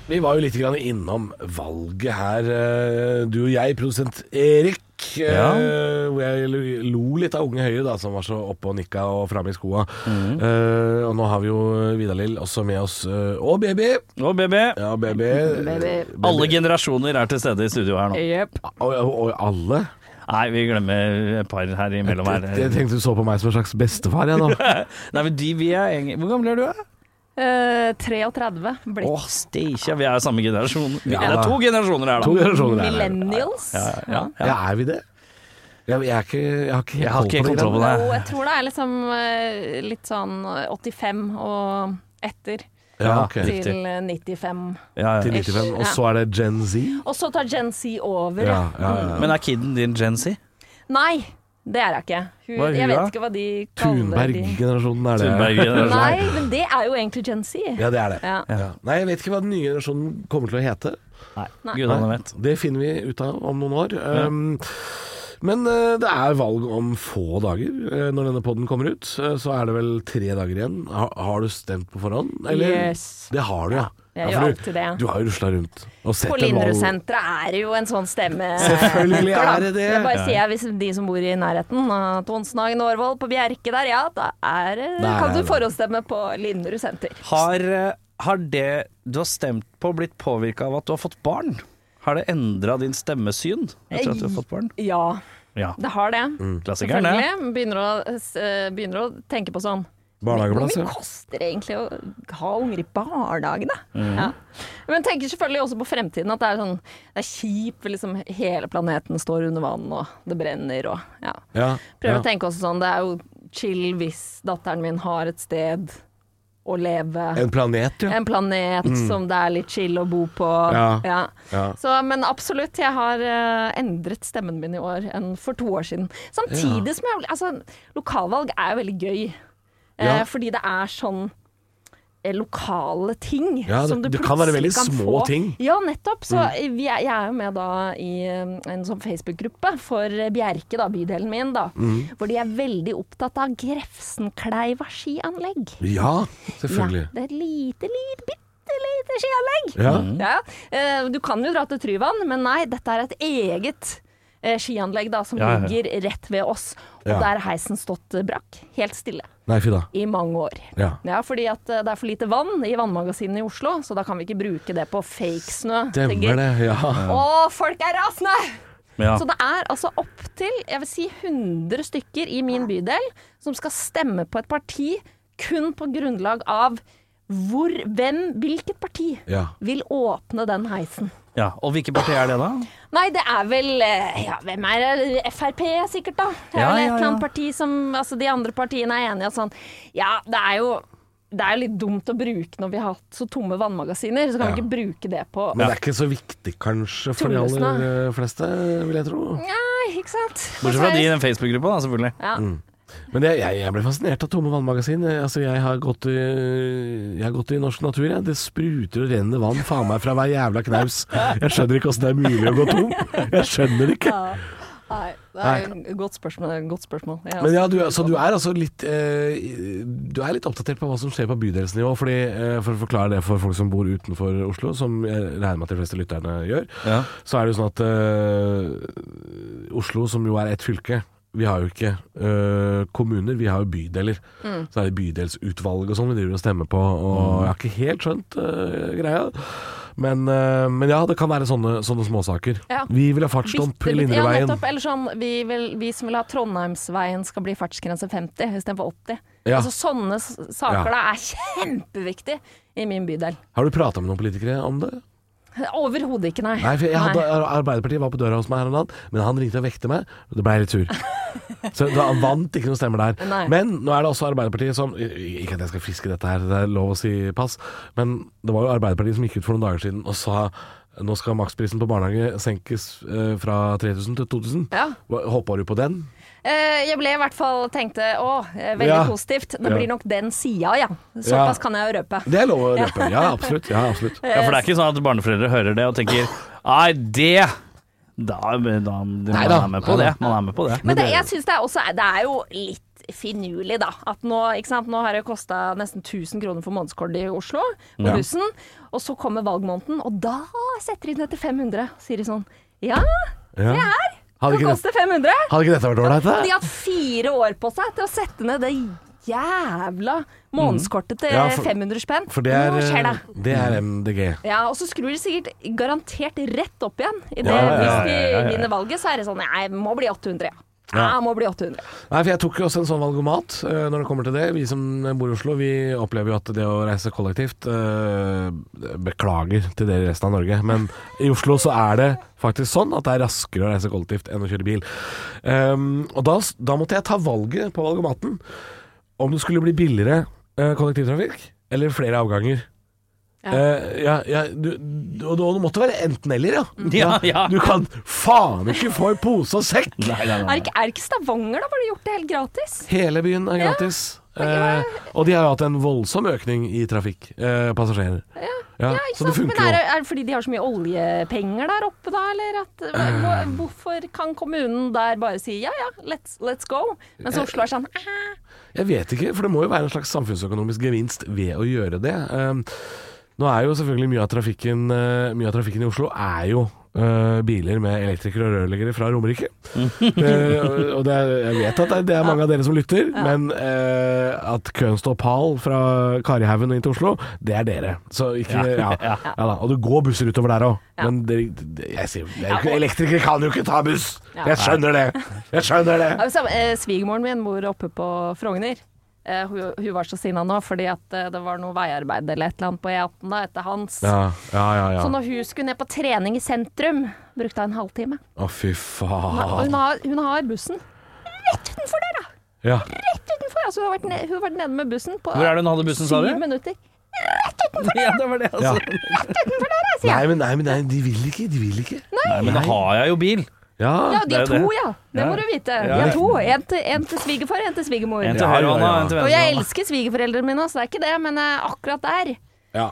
Speaker 2: Vi var jo litt grann innom valget her, eh, du og jeg, produsent Erik. eh,
Speaker 4: Ja.
Speaker 2: Hvor jeg lo- lo litt av Unge Høyre, da, som var så oppe og nikka og framme i skoa.
Speaker 4: Mhm.
Speaker 2: Eh, og nå har vi jo Vidar-Lill også med oss. eh, og baby.
Speaker 4: Og BB.
Speaker 2: Ja, baby.
Speaker 5: Baby.
Speaker 4: Alle generasjoner er til stede i studio her nå.
Speaker 5: Jepp.
Speaker 2: Og, og, og alle.
Speaker 4: Nei, vi glemmer et par her imellom her.
Speaker 2: Jeg tenkte du så på meg som en slags bestefar, jeg nå.
Speaker 4: Nei, men de vi er egentlig Hvor gammel er du? da?
Speaker 5: Eh, 33 blitt.
Speaker 4: Å, steikja, vi er samme generasjon. Vi
Speaker 2: Ja,
Speaker 4: det
Speaker 2: da.
Speaker 4: er to generasjoner her,
Speaker 2: To
Speaker 4: da.
Speaker 2: generasjoner der.
Speaker 5: Millennials.
Speaker 4: Ja, ja, ja.
Speaker 2: Ja, er vi det? Jeg, jeg, er ikke, jeg har ikke
Speaker 4: Jeg har ikke kontroll på
Speaker 2: det.
Speaker 4: det.
Speaker 5: Jo, jeg tror det er liksom eh, litt sånn 85 og etter
Speaker 2: Ja, ok.
Speaker 4: Riktig.
Speaker 5: til eh, 95.
Speaker 4: Ja,
Speaker 2: Til
Speaker 4: ja.
Speaker 2: 95. Og så er det Gen Z.
Speaker 5: Og så tar Gen Z over.
Speaker 2: Ja, ja, ja.
Speaker 4: Men er kiden din Gen Z?
Speaker 5: Nei, det er hun ikke. Hun,
Speaker 4: Hva er hun
Speaker 5: jeg vet
Speaker 4: da?
Speaker 5: ikke hva de kaller de.
Speaker 2: Thunberg-generasjonen er det.
Speaker 4: Thunberg-generasjonen.
Speaker 5: Nei, men det er jo egentlig Gen Z.
Speaker 2: Ja, det er det.
Speaker 5: Ja.
Speaker 2: Ja. Nei, jeg vet ikke hva den nye generasjonen kommer til å hete.
Speaker 4: Nei, gudene vet.
Speaker 2: Det finner vi ut av om noen år. Um, men eh, det er valg om få dager. Eh, når denne poden kommer ut, eh, så er det vel tre dager igjen. Ha, har du stemt på forhånd?
Speaker 5: Yes.
Speaker 2: Det har du, ja.
Speaker 5: Jeg
Speaker 2: Ja,
Speaker 5: gjør
Speaker 2: for
Speaker 5: alltid
Speaker 2: du,
Speaker 5: det.
Speaker 2: du har jo rusla rundt og sett
Speaker 5: På
Speaker 2: en valg.
Speaker 5: Linderud-senteret er jo en sånn stemme
Speaker 2: Selvfølgelig er det det.
Speaker 5: Jeg bare sier hvis de som bor i nærheten av Tonsenhagen og Årvoll på Bjerke der, ja, da er, det-
Speaker 2: Der er
Speaker 5: kan du
Speaker 2: det.
Speaker 5: forhåndsstemme på Linderud senter.
Speaker 4: Har, eh, har det du har stemt på, blitt påvirka av at du har fått barn? Har det endra din stemmesyn etter at du har fått barn?
Speaker 5: Ja,
Speaker 4: Ja,
Speaker 5: det har det.
Speaker 2: Mm.
Speaker 4: klassikeren, det.
Speaker 5: Selvfølgelig. Begynner å, s- eh, begynner å tenke på sånn Hvor
Speaker 2: Barnehageplass,
Speaker 5: mye
Speaker 2: ja.
Speaker 5: koster det egentlig å ha unger i barnehagen, da? Ja. Men tenker selvfølgelig også på fremtiden, at det er sånn Det er kjipt, liksom hele planeten står under vann, og det brenner og ja.
Speaker 2: ja.
Speaker 5: Prøver
Speaker 2: ja.
Speaker 5: å tenke også sånn, det er jo chill hvis datteren min har et sted å leve.
Speaker 2: En planet, ja. Mm.
Speaker 5: En planet som det er litt chill å bo på.
Speaker 2: Ja. Ja.
Speaker 5: Så, men absolutt, jeg har eh, endret stemmen min i år enn for to år siden. Samtidig som jeg Altså, lokalvalg er jo veldig gøy. eh,
Speaker 2: Ja.
Speaker 5: Fordi det er sånn eh, lokale ting
Speaker 2: Ja, det-
Speaker 5: som du
Speaker 2: det kan være
Speaker 5: plutselig
Speaker 2: veldig
Speaker 5: kan
Speaker 2: små
Speaker 5: få.
Speaker 2: ting. Mm.
Speaker 5: Ja, nettopp. Så vi er, jeg er jo med da i eh, en sånn Facebook-gruppe for eh, Bjerke, da, bydelen min, da.
Speaker 2: Mm.
Speaker 5: Hvor de er veldig opptatt av Grefsenkleiva skianlegg.
Speaker 2: Ja, selvfølgelig.
Speaker 5: Ja, det er et lite, lite, bitte lite skianlegg.
Speaker 2: Ja.
Speaker 5: Ja, eh, du kan jo dra til Tryvann, men nei, dette er et eget eh, skianlegg da, som
Speaker 4: Ja, ja, ja.
Speaker 5: ligger rett ved oss. Og
Speaker 2: Ja.
Speaker 5: der har heisen stått eh, brakk, helt stille,
Speaker 2: Nei, fy da.
Speaker 5: i mange år.
Speaker 2: Ja.
Speaker 5: Ja, fordi at eh, det er for lite vann i vannmagasinene i Oslo, så da kan vi ikke bruke det på fake snø. tenker
Speaker 2: Stemmer det. Ja.
Speaker 5: jeg. Å, folk er rasende!
Speaker 4: Ja.
Speaker 5: Så det er altså opptil jeg vil si 100 stykker i min bydel som skal stemme på et parti kun på grunnlag av hvor, hvem, hvilket parti
Speaker 2: Ja.
Speaker 5: vil åpne den heisen.
Speaker 4: ja. Og hvilket parti er det, da?
Speaker 5: Nei, det er vel eh, ja, Hvem er det? Frp, sikkert, da. Det er
Speaker 4: Ja,
Speaker 5: vel
Speaker 4: ja,
Speaker 5: et eller annet
Speaker 4: ja.
Speaker 5: parti som Altså, de andre partiene er enige og sånn. Ja, det er jo det er jo litt dumt å bruke når vi har hatt så tomme vannmagasiner, så kan vi
Speaker 2: Ja.
Speaker 5: ikke bruke det på
Speaker 2: Men det er ikke så viktig kanskje for de
Speaker 5: Tullesen,
Speaker 2: aller eh, fleste, vil jeg tro.
Speaker 5: Nei, ikke sant?
Speaker 4: Bortsett fra
Speaker 5: Altså,
Speaker 4: de i
Speaker 5: jeg-
Speaker 4: den Facebook-gruppa, da, selvfølgelig.
Speaker 5: Ja.
Speaker 2: Men jeg, jeg, jeg ble fascinert av tomme vannmagasin. Eh, Altså, jeg, har gått i, jeg har gått i norsk natur. Jeg. Det spruter og renner vann faen meg fra hver jævla knaus. Jeg skjønner ikke åssen det er mulig å gå tom. Jeg skjønner det ikke.
Speaker 5: Nei, det er et godt spørsmål. det er et Godt spørsmål. Jeg
Speaker 2: Men
Speaker 5: også-
Speaker 2: ja, du, er- så du er altså litt eh, Du er litt oppdatert på hva som skjer på bydelsnivå. Fordi, eh, for å forklare det for folk som bor utenfor Oslo, som jeg regner med at de fleste lytterne gjør,
Speaker 4: Ja.
Speaker 2: så er det jo sånn at eh, Oslo, som jo er ett fylke vi har jo ikke eh, kommuner, vi har jo bydeler.
Speaker 5: Mm.
Speaker 2: Så er det bydelsutvalg og sånn vi driver og stemmer på, og jeg har ikke helt skjønt eh, greia. Men, eh, men ja, det kan være sånne, sånne småsaker.
Speaker 5: Ja.
Speaker 2: Vi vil ha fartsdump
Speaker 5: Bitte
Speaker 2: i
Speaker 5: litt- Ja,
Speaker 2: Lindreveien.
Speaker 5: nettopp. Eller sånn, vi, vil, vi som vil ha Trondheimsveien skal bli fartsgrense 50 istedenfor 80.
Speaker 2: Ja.
Speaker 5: Altså, sånne s- saker
Speaker 2: Ja.
Speaker 5: da er kjempeviktig i min bydel.
Speaker 2: Har du prata med noen politikere om det?
Speaker 5: Overhodet ikke, nei.
Speaker 2: Nei, for jeg hadde,
Speaker 5: Nei.
Speaker 2: Arbeiderpartiet var på døra hos meg her om dagen, men han ringte og vekte meg. og Det ble jeg litt sur. Så da han vant ikke noen stemmer der.
Speaker 5: Nei.
Speaker 2: Men nå er det også Arbeiderpartiet som Ikke at jeg skal friske dette her, det er lov å si pass, men det var jo Arbeiderpartiet som gikk ut for noen dager siden og sa nå skal maksprisen på barnehage senkes eh, fra 3000 til 2000.
Speaker 5: Ja.
Speaker 2: Hva- Håper du på den?
Speaker 5: Eh, Jeg ble i hvert fall tenkte å, eh, veldig
Speaker 2: Ja.
Speaker 5: positivt. Det
Speaker 2: Ja.
Speaker 5: blir nok den sida, ja.
Speaker 2: Ja.
Speaker 5: Såpass kan jeg jo røpe.
Speaker 2: Det er lov å røpe. Ja, absolutt. Ja, absolutt.
Speaker 4: ja, for det er ikke sånn at barneforeldre hører det og tenker Nei, det da, da, Man
Speaker 2: da.
Speaker 4: er med på
Speaker 2: Nei
Speaker 4: det.
Speaker 2: da.
Speaker 4: Man er med på det.
Speaker 5: Men det,
Speaker 2: det-
Speaker 5: jeg syns det er også Det er jo litt finurlig, da. At nå, ikke sant? nå har det kosta nesten 1000 kroner for månedskort i Oslo, på
Speaker 2: Ja.
Speaker 5: bussen. Og så kommer valgmåneden, og da setter de ned til 500. Sier de sånn Ja,
Speaker 2: Ja. Hadde,
Speaker 5: det
Speaker 2: ikke det,
Speaker 5: koster 500!
Speaker 2: hadde ikke dette vært ålreit,
Speaker 5: De
Speaker 2: da?
Speaker 5: har hatt fire år på seg til å sette ned det jævla månedskortet til
Speaker 2: Ja, for-
Speaker 5: 500 spenn.
Speaker 2: For det er,
Speaker 5: nå skjer det.
Speaker 2: eh, det er MDG.
Speaker 5: Ja, og så skrur de sikkert garantert rett opp igjen. I det,
Speaker 2: Ja, ja, ja,
Speaker 5: Hvis de
Speaker 4: ja, ja, ja.
Speaker 5: vinner valget, så er det sånn Nei, må bli 800, ja. Ja,
Speaker 2: Ja.
Speaker 5: må bli 800.
Speaker 2: Nei, for jeg tok jo også en sånn valgomat eh, når det kommer til det. Vi som bor i Oslo, vi opplever jo at det å reise kollektivt eh, Beklager til dere i resten av Norge, men i Oslo så er det faktisk sånn at det er raskere å reise kollektivt enn å kjøre bil. Ehm, og da, s- da måtte jeg ta valget på valgomaten om det skulle bli billigere eh, kollektivtrafikk eller flere avganger.
Speaker 5: Ja.
Speaker 2: Eh, ja, ja, du, du, og det måtte være enten-eller, ja.
Speaker 4: Ja, ja.
Speaker 2: Du kan faen ikke få i pose og sekk!
Speaker 4: Nei, nei,
Speaker 5: Er
Speaker 4: nei.
Speaker 5: ikke, er ikke Stavanger, da? Bare de gjort det helt gratis?
Speaker 2: Hele byen er gratis. Eh, og de har jo hatt en voldsom økning i trafikk. Eh, passasjerer. Ja,
Speaker 5: Ja, ikke
Speaker 2: så det
Speaker 5: sant? Men
Speaker 2: funker
Speaker 5: er,
Speaker 2: jo.
Speaker 5: det- er det fordi de har så mye oljepenger der oppe, da? Eller at,
Speaker 2: Eh.
Speaker 5: hvor- hvorfor kan kommunen der bare si ja ja, let's, let's go?
Speaker 2: Eh.
Speaker 5: Mens Oslo er sånn «Ah».
Speaker 2: Jeg vet ikke, for det må jo være en slags samfunnsøkonomisk gevinst ved å gjøre det. Eh, nå er jo selvfølgelig mye av trafikken, eh, mye av trafikken i Oslo er jo eh, biler med elektrikere og rørleggere fra Romerike. Eh, og- og det er, jeg vet at det er, det er mange av dere som lytter, men eh, at køen står pal fra Karihaugen og inn til Oslo, det er dere. Så ikke Ja, ja, da. Og det går busser utover der òg, men dere, jeg sier det er jo ikke- Elektrikere kan jo ikke ta buss! Jeg skjønner det! Jeg skjønner det!
Speaker 5: Ja, så, eh, Svigermoren min bor oppe på Frogner. Eh, hun, hun var så sinna nå fordi at eh, det var noe veiarbeid eller et eller annet på E18 da, etter hans.
Speaker 2: Ja, ja, ja. ja.
Speaker 5: Så når hun skulle ned på trening i sentrum, brukte hun en halvtime.
Speaker 2: Å, fy
Speaker 5: Og
Speaker 2: faen.
Speaker 5: hun har, hun har bussen rett utenfor der, da!
Speaker 2: Ja.
Speaker 5: Rett utenfor! Altså, hun har vært, ned, hun har vært nede med bussen på
Speaker 4: Hvor er det hun hadde bussen, sa du?
Speaker 5: syv minutter.
Speaker 4: Ja, det var det, altså.
Speaker 2: Ja. Nei, men, nei, men nei, de vil ikke. De vil ikke.
Speaker 4: Nei, men da har jeg jo bil.
Speaker 5: Ja,
Speaker 2: Ja.
Speaker 5: de har
Speaker 4: Det er jo
Speaker 5: to, ja. Det
Speaker 4: Ja.
Speaker 5: må du vite.
Speaker 4: Ja.
Speaker 5: De har to. En til, en til svigerfar, en til svigermor.
Speaker 4: En til
Speaker 2: Ja,
Speaker 4: høyrehånda,
Speaker 2: ja, ja.
Speaker 4: en til
Speaker 5: Og jeg
Speaker 4: venstrehånda.
Speaker 5: elsker svigerforeldrene mine, så det er ikke det, men eh, akkurat der
Speaker 2: ja.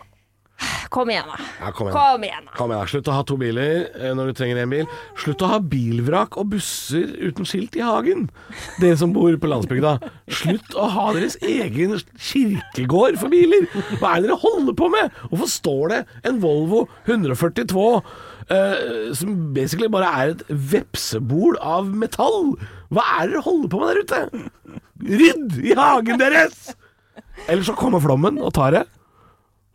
Speaker 5: Kom igjen, da.
Speaker 2: ja kom igjen.
Speaker 5: Kom igjen, da.
Speaker 2: Kom igjen, da. Slutt å ha to biler eh, når du trenger én bil. Slutt å ha bilvrak og busser uten skilt i hagen, dere som bor på landsbygda. Slutt å ha deres egen kirkegård for biler. Hva er det dere holder på med? Hvorfor står det en Volvo 142 eh, som basically bare er et vepsebol av metall? Hva er det dere holder på med der ute? Rydd i hagen deres! Eller så kommer flommen og tar det.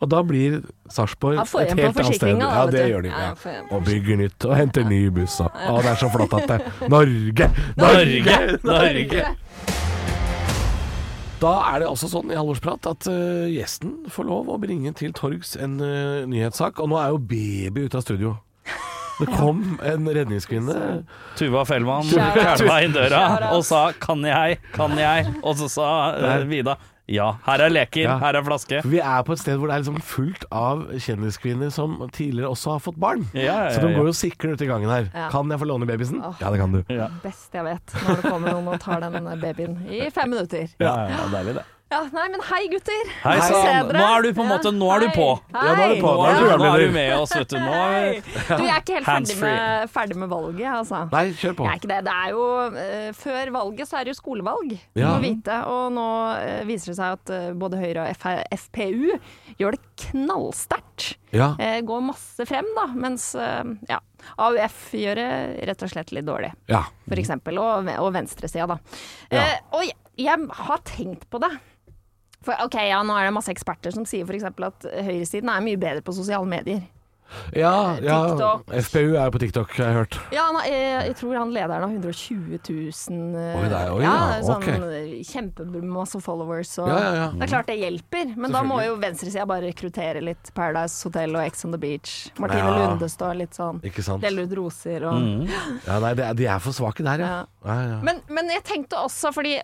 Speaker 2: Og da blir Sarpsborg
Speaker 5: Ja, får
Speaker 2: et
Speaker 5: igjen på
Speaker 2: helt annet sted.
Speaker 5: forsikringen, da,
Speaker 2: Ja,
Speaker 5: vet
Speaker 2: det
Speaker 5: du.
Speaker 2: gjør de.
Speaker 5: Ja, får
Speaker 2: Ja.
Speaker 5: igjen på
Speaker 2: Og bygger nytt og henter ny buss. da. Å, det er så flott at det Norge! Norge! Norge! Da er det også sånn i Halvorsprat at eh, gjesten får lov å bringe til torgs en eh, nyhetssak. Og nå er jo baby ute av studio. Det kom en redningskvinne.
Speaker 4: Tuva Fellmann
Speaker 5: Shout out.
Speaker 4: kælva inn døra
Speaker 5: Shout out.
Speaker 4: og sa 'kan jeg', 'kan jeg', og så sa eh, Vida Ja, her er leker,
Speaker 2: Ja.
Speaker 4: her er flaske.
Speaker 2: For vi er på et sted hvor det er liksom fullt av kjendiskvinner som tidligere også har fått barn.
Speaker 4: Ja, ja, ja,
Speaker 2: Så de
Speaker 4: ja.
Speaker 2: går og sikler ute i gangen her.
Speaker 5: Ja.
Speaker 2: Kan jeg få låne babysen?
Speaker 5: Åh.
Speaker 2: Ja, det kan du.
Speaker 4: Ja,
Speaker 5: Best jeg vet, når det kommer noen og tar den babyen i fem minutter.
Speaker 4: ja, ja deilig det.
Speaker 5: Ja, nei, men hei gutter!
Speaker 4: Hei
Speaker 5: Godt å se
Speaker 4: sann,
Speaker 5: dere.
Speaker 4: nå er du på en måte, nå er du
Speaker 5: Hei.
Speaker 4: på.
Speaker 5: Hei.
Speaker 2: Ja, nå er du på.
Speaker 4: Nå
Speaker 2: Nå er du
Speaker 4: er, nå er
Speaker 2: programleder.
Speaker 4: du med oss, vet du. Nå er,
Speaker 5: Du, jeg er ikke helt ferdig
Speaker 4: Hands-free.
Speaker 5: med, ferdig med valget, altså.
Speaker 2: Nei, kjør på.
Speaker 5: Jeg er ikke det. Det er jo, eh, før valget så er det jo skolevalg, du
Speaker 2: Ja.
Speaker 5: må vite. Og nå eh, viser det seg at eh, både Høyre og F FPU gjør det knallsterkt.
Speaker 2: Ja.
Speaker 5: Eh, går masse frem, da. Mens eh, ja, AUF gjør det rett og slett litt dårlig,
Speaker 2: ja.
Speaker 5: for eksempel. Og, og venstresida, da.
Speaker 2: Mm. Ja.
Speaker 5: Eh, og jeg, jeg har tenkt på det. For ok, ja, Nå er det masse eksperter som sier for eksempel at høyresiden er mye bedre på sosiale medier.
Speaker 2: ja, ja.
Speaker 5: TikTok.
Speaker 2: FPU er jo på TikTok, har jeg hørt.
Speaker 5: Ja, han, jeg, jeg tror han lederen har 120 000 eh,
Speaker 2: Oi, det er- oi,
Speaker 5: ja,
Speaker 2: ja,
Speaker 5: sånn
Speaker 2: ok.
Speaker 5: eh, kjempemasse followers. Og,
Speaker 2: Ja, ja, ja.
Speaker 5: Det er klart det hjelper, men da må jo venstresida bare rekruttere litt Paradise Hotel og Ex on the Beach. Martine
Speaker 2: Ja. Mm.
Speaker 5: Lunde står litt sånn,
Speaker 2: Ikke sant?
Speaker 5: deler ut roser og
Speaker 2: Ja, nei, det er- de er for svake der, ja.
Speaker 5: Ja.
Speaker 2: ja, ja.
Speaker 5: men, men jeg tenkte også, fordi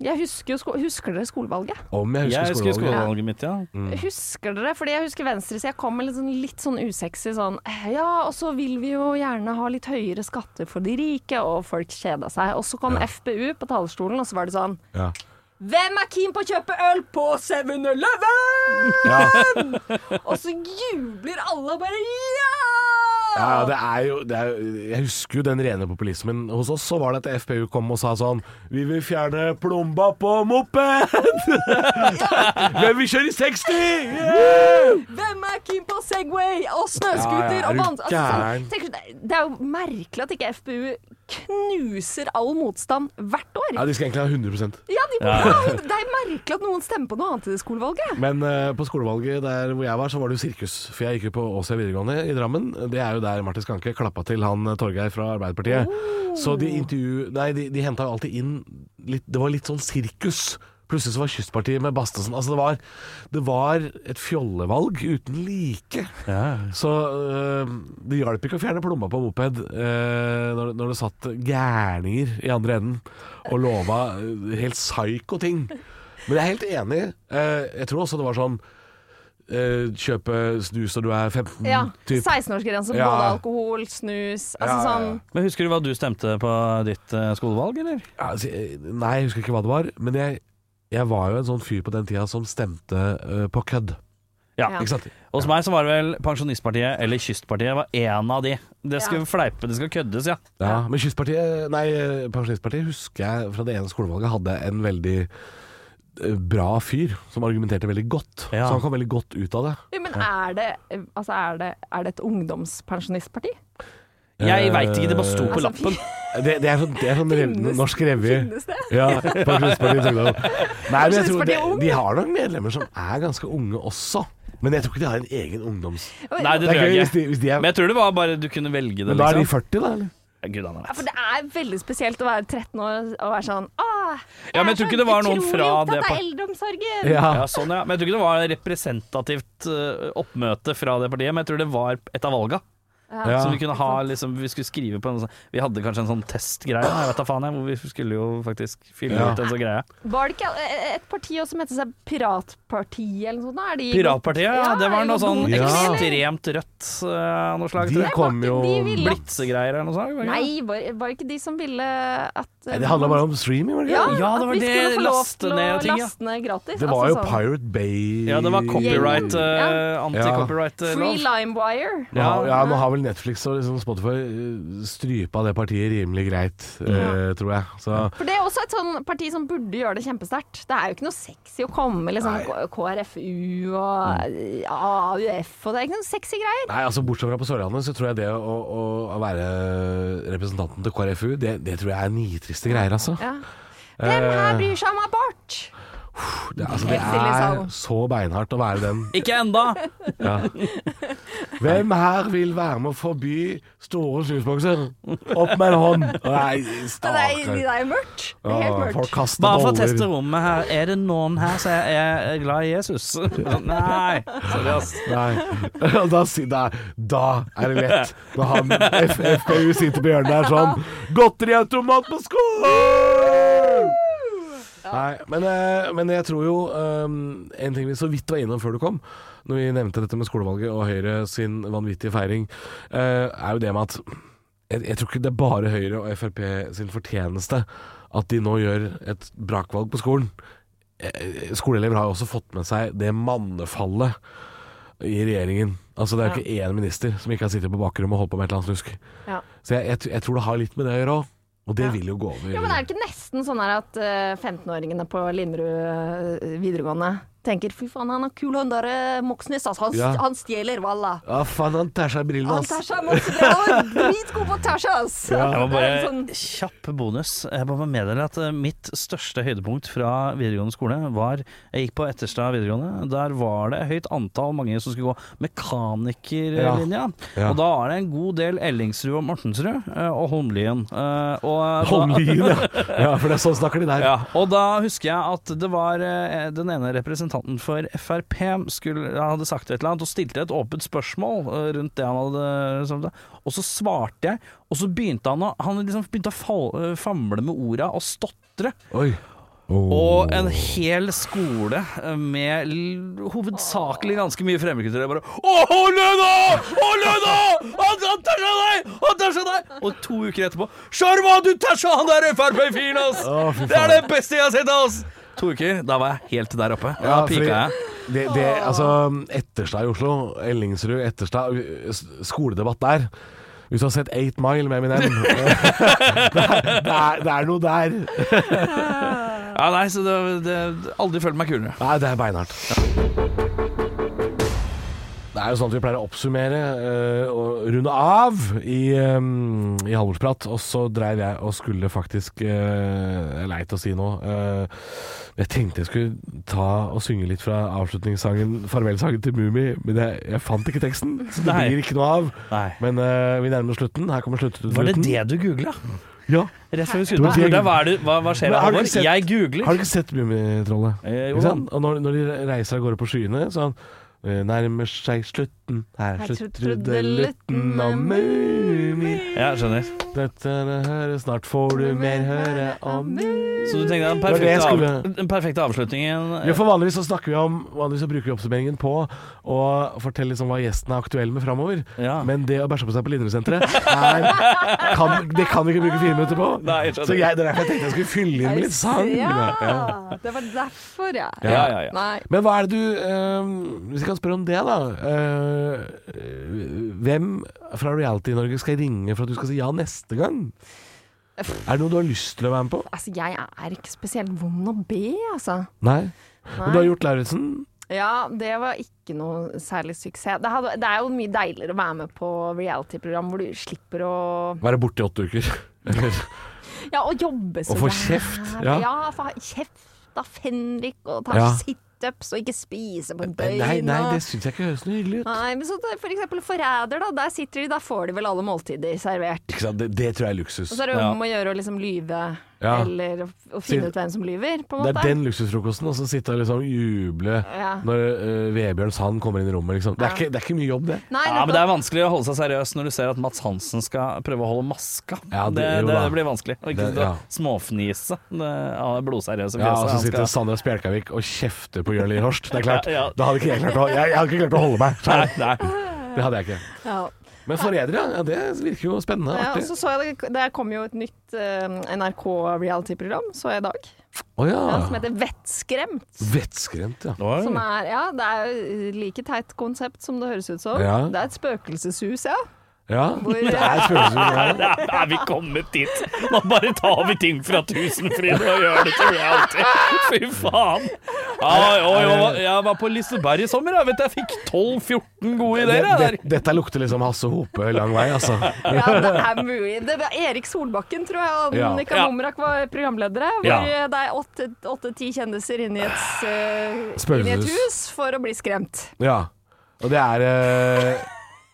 Speaker 5: jeg husker jo sko Husker dere skolevalget?
Speaker 2: Om jeg husker,
Speaker 4: jeg husker
Speaker 2: skolevalget. Mm.
Speaker 4: skolevalget mitt, ja.
Speaker 5: Husker dere? Fordi jeg husker venstresida kom med litt sånn, litt sånn usexy sånn eh, Ja, og så vil vi jo gjerne ha litt høyere skatter for de rike, og folk kjeda seg. Og så kom FPU på talerstolen, og så var det sånn
Speaker 2: Ja.
Speaker 5: Hvem er keen på å kjøpe øl på 7-Eleven?!
Speaker 2: Ja.
Speaker 5: Og så jubler alle og bare ja!
Speaker 2: Ja, ja, det er jo, det er, jo- jeg husker jo den rene populismen. Hos oss så var det at FPU kom og sa sånn Vi vil fjerne plomba på moped! Men vi kjører i 60! Yeah!
Speaker 5: Hvem er keen på Segway og
Speaker 2: Ja, ja,
Speaker 5: snøscooter
Speaker 2: er
Speaker 5: og
Speaker 2: du
Speaker 5: vann... Altså, sånn,
Speaker 2: gæren?
Speaker 5: tenker du, det- det er jo merkelig at ikke FPU knuser all motstand hvert år.
Speaker 2: Ja, de skal egentlig ha 100
Speaker 5: Ja, de burde ha hund- Det er merkelig at noen stemmer på noe annet i det skolevalget.
Speaker 2: Men eh, på skolevalget der hvor jeg var, så var det jo sirkus. For jeg gikk jo på Åsia videregående i Drammen. Det er jo der Martin Skanke klappa til han eh, Torgeir fra Arbeiderpartiet. Så de intervju... Nei, de, de henta jo alltid inn litt Det var litt sånn sirkus. Plutselig så var Kystpartiet med Bastesen Altså, det var, det var et fjollevalg uten like. Så øh, det hjalp ikke å fjerne plomma på moped øh, når, når det satt gærninger i andre enden og lova øh, helt psyko ting. Men jeg er helt enig. Eh, jeg tror også det var sånn øh, Kjøpe snus når du er 15,
Speaker 5: Ja,
Speaker 2: Mm, typ.
Speaker 5: 16-årsgrense,
Speaker 2: Ja.
Speaker 5: både alkohol, snus
Speaker 2: Ja, ja,
Speaker 5: Altså
Speaker 2: ja.
Speaker 5: sånn
Speaker 4: Men husker du hva du stemte på ditt eh, skolevalg, eller?
Speaker 2: Ja, altså, jeg- nei, jeg husker ikke hva det var. Men jeg, jeg var jo en sånn fyr på den tida som stemte øh, på kødd.
Speaker 4: Ja.
Speaker 5: Ja.
Speaker 2: Ikke sant?
Speaker 4: Hos meg så var det vel Pensjonistpartiet eller Kystpartiet var en av de. Det skal
Speaker 5: Ja.
Speaker 4: fleipe, det skal køddes, ja.
Speaker 2: Ja, men Kystpartiet, nei, Pensjonistpartiet husker jeg fra det ene skolevalget hadde en veldig eh, bra fyr som argumenterte veldig godt.
Speaker 4: Ja.
Speaker 2: Så han kom veldig godt ut av det.
Speaker 5: Jo, Men er det, altså er det, er det et ungdomspensjonistparti?
Speaker 4: Jeg
Speaker 2: Eh,
Speaker 4: veit ikke, det bare sto på
Speaker 5: altså,
Speaker 4: lappen.
Speaker 2: Det, det er sånn, det er sånn rev,
Speaker 5: Finnes-
Speaker 2: norsk revy.
Speaker 5: Finnes det?
Speaker 2: Ja, Pensjonistpartiet Ungdom. Nei, men jeg tror de,
Speaker 5: Pensjonistpartiet Ung.
Speaker 2: de har nok medlemmer som er ganske unge også. Men jeg tror ikke de har en egen ungdoms...
Speaker 4: Nei, det
Speaker 2: Det er
Speaker 4: tror
Speaker 2: gøy
Speaker 4: jeg
Speaker 2: hvis de,
Speaker 4: ikke.
Speaker 2: hvis de er
Speaker 4: Men jeg tror det var bare du kunne velge det,
Speaker 2: Men da er de
Speaker 4: liksom.
Speaker 2: 40, da? eller?
Speaker 4: Ja, Gud, han
Speaker 5: Ja,
Speaker 4: er
Speaker 5: For det er veldig spesielt å være 13 år og være sånn Åh, jeg
Speaker 4: Ja, men jeg tror ikke det var noen fra
Speaker 5: det
Speaker 4: det
Speaker 5: av
Speaker 4: par-
Speaker 5: eldreomsorgen!
Speaker 4: ja, sånn, ja. Men jeg tror ikke det var representativt eh, oppmøte fra det partiet, men jeg tror det var et av valga.
Speaker 2: Ja.
Speaker 4: Som vi kunne ha liksom, Vi skulle skrive på en sånn Vi hadde kanskje en sånn testgreie, jeg vet da faen, jeg, hvor vi skulle jo faktisk fylle
Speaker 2: Ja.
Speaker 4: ut en sånn greie.
Speaker 5: Var det ikke eh, et parti også som heter seg Piratpartiet eller noe sånt? da? Er de-
Speaker 4: Piratpartiet, ja. Det var
Speaker 5: er
Speaker 4: noe
Speaker 5: de noe
Speaker 4: sånn
Speaker 5: dumme,
Speaker 2: Ja.
Speaker 5: eller?
Speaker 4: ekstremt rødt eh, av noe slag.
Speaker 2: De
Speaker 4: tror jeg.
Speaker 2: kom
Speaker 5: ikke-
Speaker 2: jo
Speaker 5: de ville-
Speaker 2: Nei,
Speaker 4: Blitzegreier eller noe sånt? var det ikke det?
Speaker 5: Nei, var, var det ikke de som ville at
Speaker 2: Det handla bare om streaming, var det ikke?
Speaker 5: Ja,
Speaker 2: det?
Speaker 4: Ja, det
Speaker 5: at
Speaker 4: var
Speaker 5: vi
Speaker 4: det,
Speaker 5: skulle få lov
Speaker 4: laste
Speaker 5: til å
Speaker 4: ned og ting, ja.
Speaker 5: laste ned gratis.
Speaker 2: Det var
Speaker 5: altså
Speaker 2: jo
Speaker 5: sånn.
Speaker 2: Pirate Bay
Speaker 4: Ja, det var copyright, eh,
Speaker 5: Ja. sånn Free
Speaker 4: anti-copyright-lov.
Speaker 5: LimeWire.
Speaker 2: Nå har, ja,
Speaker 4: Ja.
Speaker 2: nå har vel Netflix og liksom Spotify eh, strypa det partiet rimelig greit, eh, tror jeg. Så
Speaker 5: For det er også et sånn parti som burde gjøre det kjempesterkt. Det er jo ikke noe sexy å komme liksom K- KrFU og eh, AUF og det er ikke noen sexy greier.
Speaker 2: Nei, altså Bortsett fra på Sørlandet, så tror jeg det å, å, å være representanten til KrFU, det, det tror jeg er nitriste greier, altså.
Speaker 5: Ja. Hvem
Speaker 2: Eh.
Speaker 5: her bryr seg om abort?
Speaker 2: Det, altså, det
Speaker 5: Helt stille i
Speaker 2: er
Speaker 5: salen.
Speaker 2: så beinhardt å være den.
Speaker 4: Ikke enda!
Speaker 2: Hvem her vil være med å forby store snusbokser? Opp med en hånd! Nei,
Speaker 5: Det er, det
Speaker 2: stakkar.
Speaker 5: er mørkt. Det er
Speaker 2: Å,
Speaker 5: helt
Speaker 2: Folk
Speaker 5: mørkt.
Speaker 2: kaster
Speaker 4: Bare for å
Speaker 2: boller.
Speaker 4: teste rommet her. Er det noen her som er er glad i Jesus? Nei. Sorry, ass.
Speaker 2: Nei. Og Da, si- da, da er det lett, når han F FPU sitter på hjørnet der sånn Godteriautomat på skolen!
Speaker 5: Ja,
Speaker 2: Nei, men, eh, men jeg tror jo eh, En ting vi så vidt var innom før du kom, når vi nevnte dette med skolevalget og Høyre sin vanvittige feiring, eh, er jo det med at jeg, jeg tror ikke det er bare Høyre og Frp sin fortjeneste at de nå gjør et brakvalg på skolen. Eh, Skoleelever har jo også fått med seg det mannefallet i regjeringen. Altså Det er jo ikke én minister som ikke har sittet på bakrommet og holdt på med et eller annet snusk.
Speaker 5: Ja.
Speaker 2: Så jeg, jeg, jeg tror det har litt med det å gjøre òg. Og det
Speaker 5: Ja.
Speaker 2: vil jo gå over.
Speaker 5: Ja, men er det ikke nesten sånn her at eh, 15-åringene på Linderud eh, videregående tenker fy faen, han er kul, han der eh, Moxnes, altså. Han,
Speaker 2: Ja.
Speaker 5: han stjeler, walla.
Speaker 2: Ja, faen, han tar seg brillene,
Speaker 5: Han
Speaker 2: ass.
Speaker 5: Tasha Moxnes, han er dritgod på Tasha, ass!
Speaker 4: Jeg må
Speaker 5: Det er
Speaker 4: bare
Speaker 5: sånn,
Speaker 4: Kjapp bonus. Jeg må bare meddele at eh, mitt største høydepunkt fra videregående skole var Jeg gikk på Etterstad videregående. Der var det høyt antall mange som skulle gå mekanikerlinja.
Speaker 2: Ja.
Speaker 4: Og da var det en god del Ellingsrud og Mortensrud eh, og Holmlien. Eh, Og da-
Speaker 2: Holmlien, ja. ja. For det er sånn snakker de der.
Speaker 4: Ja, og da husker jeg at det var eh, den ene representanten for Frp skulle, han hadde sagt et eller annet og stilte et åpent spørsmål eh, rundt det han hadde sagt. Og så svarte jeg, og så begynte han å, han liksom begynte å fal- eh, famle med orda og stotre.
Speaker 2: Oi. Oh.
Speaker 4: Og en hel skole eh, med l- hovedsakelig ganske mye fremmedkultur. Jeg bare Å, hold lønna! Hold lønna! Han han tæsja deg! Han tæsja deg! Og to uker etterpå Sjarma, du tæsja han der Frp-fyren, ass!
Speaker 2: Å, fy
Speaker 4: det
Speaker 2: faen.
Speaker 4: er det beste jeg har sett, ass! To uker, da var jeg helt der oppe. Da
Speaker 2: Ja, fordi-
Speaker 4: pika jeg.
Speaker 2: Det, det, altså, Etterstad i Oslo, Ellingsrud, Etterstad s- Skoledebatt der. Hvis du har sett 8 Mile med Eminem det, er, det, er, det er noe der.
Speaker 4: Ja, nei, så det, det Aldri følt meg kulere.
Speaker 2: Nei, det er beinhardt. Det er jo sånn at vi pleier å oppsummere eh, og runde av i, um, i Halvorsprat. Og så dreiv jeg og skulle faktisk eh, Leit å si noe. eh, jeg tenkte jeg skulle ta og synge litt fra avslutningssangen, farvelsangen til Mummi, men jeg, jeg fant ikke teksten. Så det
Speaker 4: Nei.
Speaker 2: blir ikke noe av.
Speaker 4: Nei.
Speaker 2: Men eh, vi nærmer oss slutten. Her kommer slutten.
Speaker 4: Var det det du googla?
Speaker 2: Ja.
Speaker 4: Rett før vi
Speaker 2: Det var
Speaker 4: skulle
Speaker 2: det jeg
Speaker 4: på hva, er det- hva, hva skjer
Speaker 2: Men
Speaker 4: her,
Speaker 2: har du
Speaker 4: Halvor?
Speaker 2: ikke sett-
Speaker 4: Jeg googler.
Speaker 2: Har du ikke sett Mummitrollet?
Speaker 4: Eh, jo.
Speaker 2: Ikke sant? Og når, når de reiser av gårde på skyene, så han eh, nærmer seg slutten, her
Speaker 5: Her
Speaker 2: slutter
Speaker 5: slutter
Speaker 2: trudelutten
Speaker 5: trudelutten
Speaker 2: av
Speaker 5: av
Speaker 2: Mumi.
Speaker 4: Ja, skjønner.
Speaker 2: Dette er det høre, snart får du mer høre om Mumi.
Speaker 4: Så du tenker den
Speaker 2: var det
Speaker 4: perfekte,
Speaker 2: jeg
Speaker 4: av,
Speaker 2: skulle-
Speaker 4: den perfekte avslutningen
Speaker 2: Ja, for vanligvis så snakker vi om Vanligvis så bruker vi oppsummeringen på å fortelle liksom hva gjesten er aktuell med framover.
Speaker 4: Ja.
Speaker 2: Men det å bæsje på seg på Linderud-senteret er- kan- Det kan vi ikke bruke fire minutter på.
Speaker 4: Nei, jeg skjønner.
Speaker 2: så jeg, det er derfor jeg tenkte jeg skulle fylle inn med litt sang. Ja.
Speaker 5: Ja, det var derfor, ja.
Speaker 4: Ja, ja, ja.
Speaker 5: Nei.
Speaker 2: Men hva er det du eh, Hvis jeg kan spørre om det, da. eh, hvem fra Reality-Norge skal jeg ringe for at du skal si ja neste gang? Er det noe du har lyst til å være med på?
Speaker 5: Altså, jeg er ikke spesielt vond å be, altså.
Speaker 2: Nei. Men du
Speaker 5: Nei.
Speaker 2: har gjort Lauritzen.
Speaker 5: Ja, det var ikke noe særlig suksess. Det, hadde, det er jo mye deiligere å være med på reality-program hvor du slipper å
Speaker 2: Være borte i åtte uker. Eller-
Speaker 5: Ja, å jobbe så
Speaker 2: Og få
Speaker 5: jævlig.
Speaker 2: kjeft,
Speaker 5: Ja,
Speaker 2: ja.
Speaker 5: fa- kjeft av Fenrik, og ta
Speaker 2: Ja.
Speaker 5: situps og ikke spise på beina.
Speaker 2: nei, nei, det syns jeg ikke høres noe hyggelig ut.
Speaker 5: Nei, men så det- for eksempel Forræder, da. Der sitter de, da får de vel alle måltider servert.
Speaker 2: Ikke sant? Det, det tror jeg er luksus.
Speaker 5: Og så er det jo om å gjøre å liksom lyve,
Speaker 2: Ja.
Speaker 5: eller å, å
Speaker 2: Siden-
Speaker 5: finne ut hvem som lyver, på en
Speaker 2: Det
Speaker 5: måte.
Speaker 2: er den luksusfrokosten, og så sitte og liksom juble
Speaker 5: Ja.
Speaker 2: når eh, Vebjørn Sand kommer inn i rommet. Liksom. Det, er ikke, det er ikke mye jobb, det.
Speaker 5: Nei,
Speaker 4: Ja, men det
Speaker 5: nettopp.
Speaker 4: er vanskelig å holde seg seriøs når du ser at Mats Hansen skal prøve å holde maska.
Speaker 2: Ja,
Speaker 4: det,
Speaker 2: det- jo
Speaker 4: det,
Speaker 2: da.
Speaker 4: blir vanskelig. Og ikke
Speaker 2: Det-
Speaker 4: sitte
Speaker 2: ja.
Speaker 4: og småfnise av det blodseriøse
Speaker 2: Ja, og så
Speaker 4: fjeset.
Speaker 2: sitter
Speaker 4: Han skal-
Speaker 2: Sandra Spjelkavik og kjefter på Jørn Lier Horst. Det er klart.
Speaker 4: Ja, ja.
Speaker 2: Da hadde ikke jeg klart å, jeg, jeg hadde ikke klart å holde meg. Så
Speaker 4: Nei, nei.
Speaker 2: Det hadde jeg ikke.
Speaker 5: ja.
Speaker 2: Men forrædere, ja, det virker jo spennende.
Speaker 5: Ja, og
Speaker 2: Artig.
Speaker 5: så så jeg det, det kom jo et nytt eh, NRK-reality-program, så jeg i dag.
Speaker 2: Å
Speaker 5: Ja, som
Speaker 2: ja.
Speaker 5: heter Vettskremt.
Speaker 2: Vettskremt, ja.
Speaker 5: Som er, ja, det er jo like teit konsept som det høres ut som.
Speaker 2: Ja.
Speaker 5: Det er et spøkelseshus, ja.
Speaker 2: ja.
Speaker 5: Hvor-
Speaker 2: Det er spøkelseshuset.
Speaker 4: Nei, Er vi kommet dit? Nå bare tar vi ting fra Tusenfryd og gjør det til reality. Fy faen. Ja, jo, jo, jeg var på Liseberg i sommer. Jeg vet jeg fikk 12-14 gode
Speaker 2: Det,
Speaker 4: ideer. jeg,
Speaker 2: det, dette lukter liksom Hasse Hope lang vei, altså.
Speaker 5: ja det er mulig. Det var Erik Solbakken, tror jeg, og
Speaker 2: Ja.
Speaker 5: Monica
Speaker 4: Ja.
Speaker 5: Momrak var programledere. Hvor
Speaker 4: Ja.
Speaker 5: eh, det er åtte- åtte-ti kjendiser inni et, eh,
Speaker 2: Spøkelseshus.
Speaker 5: inni et hus for å bli skremt.
Speaker 2: Ja. Og det er eh,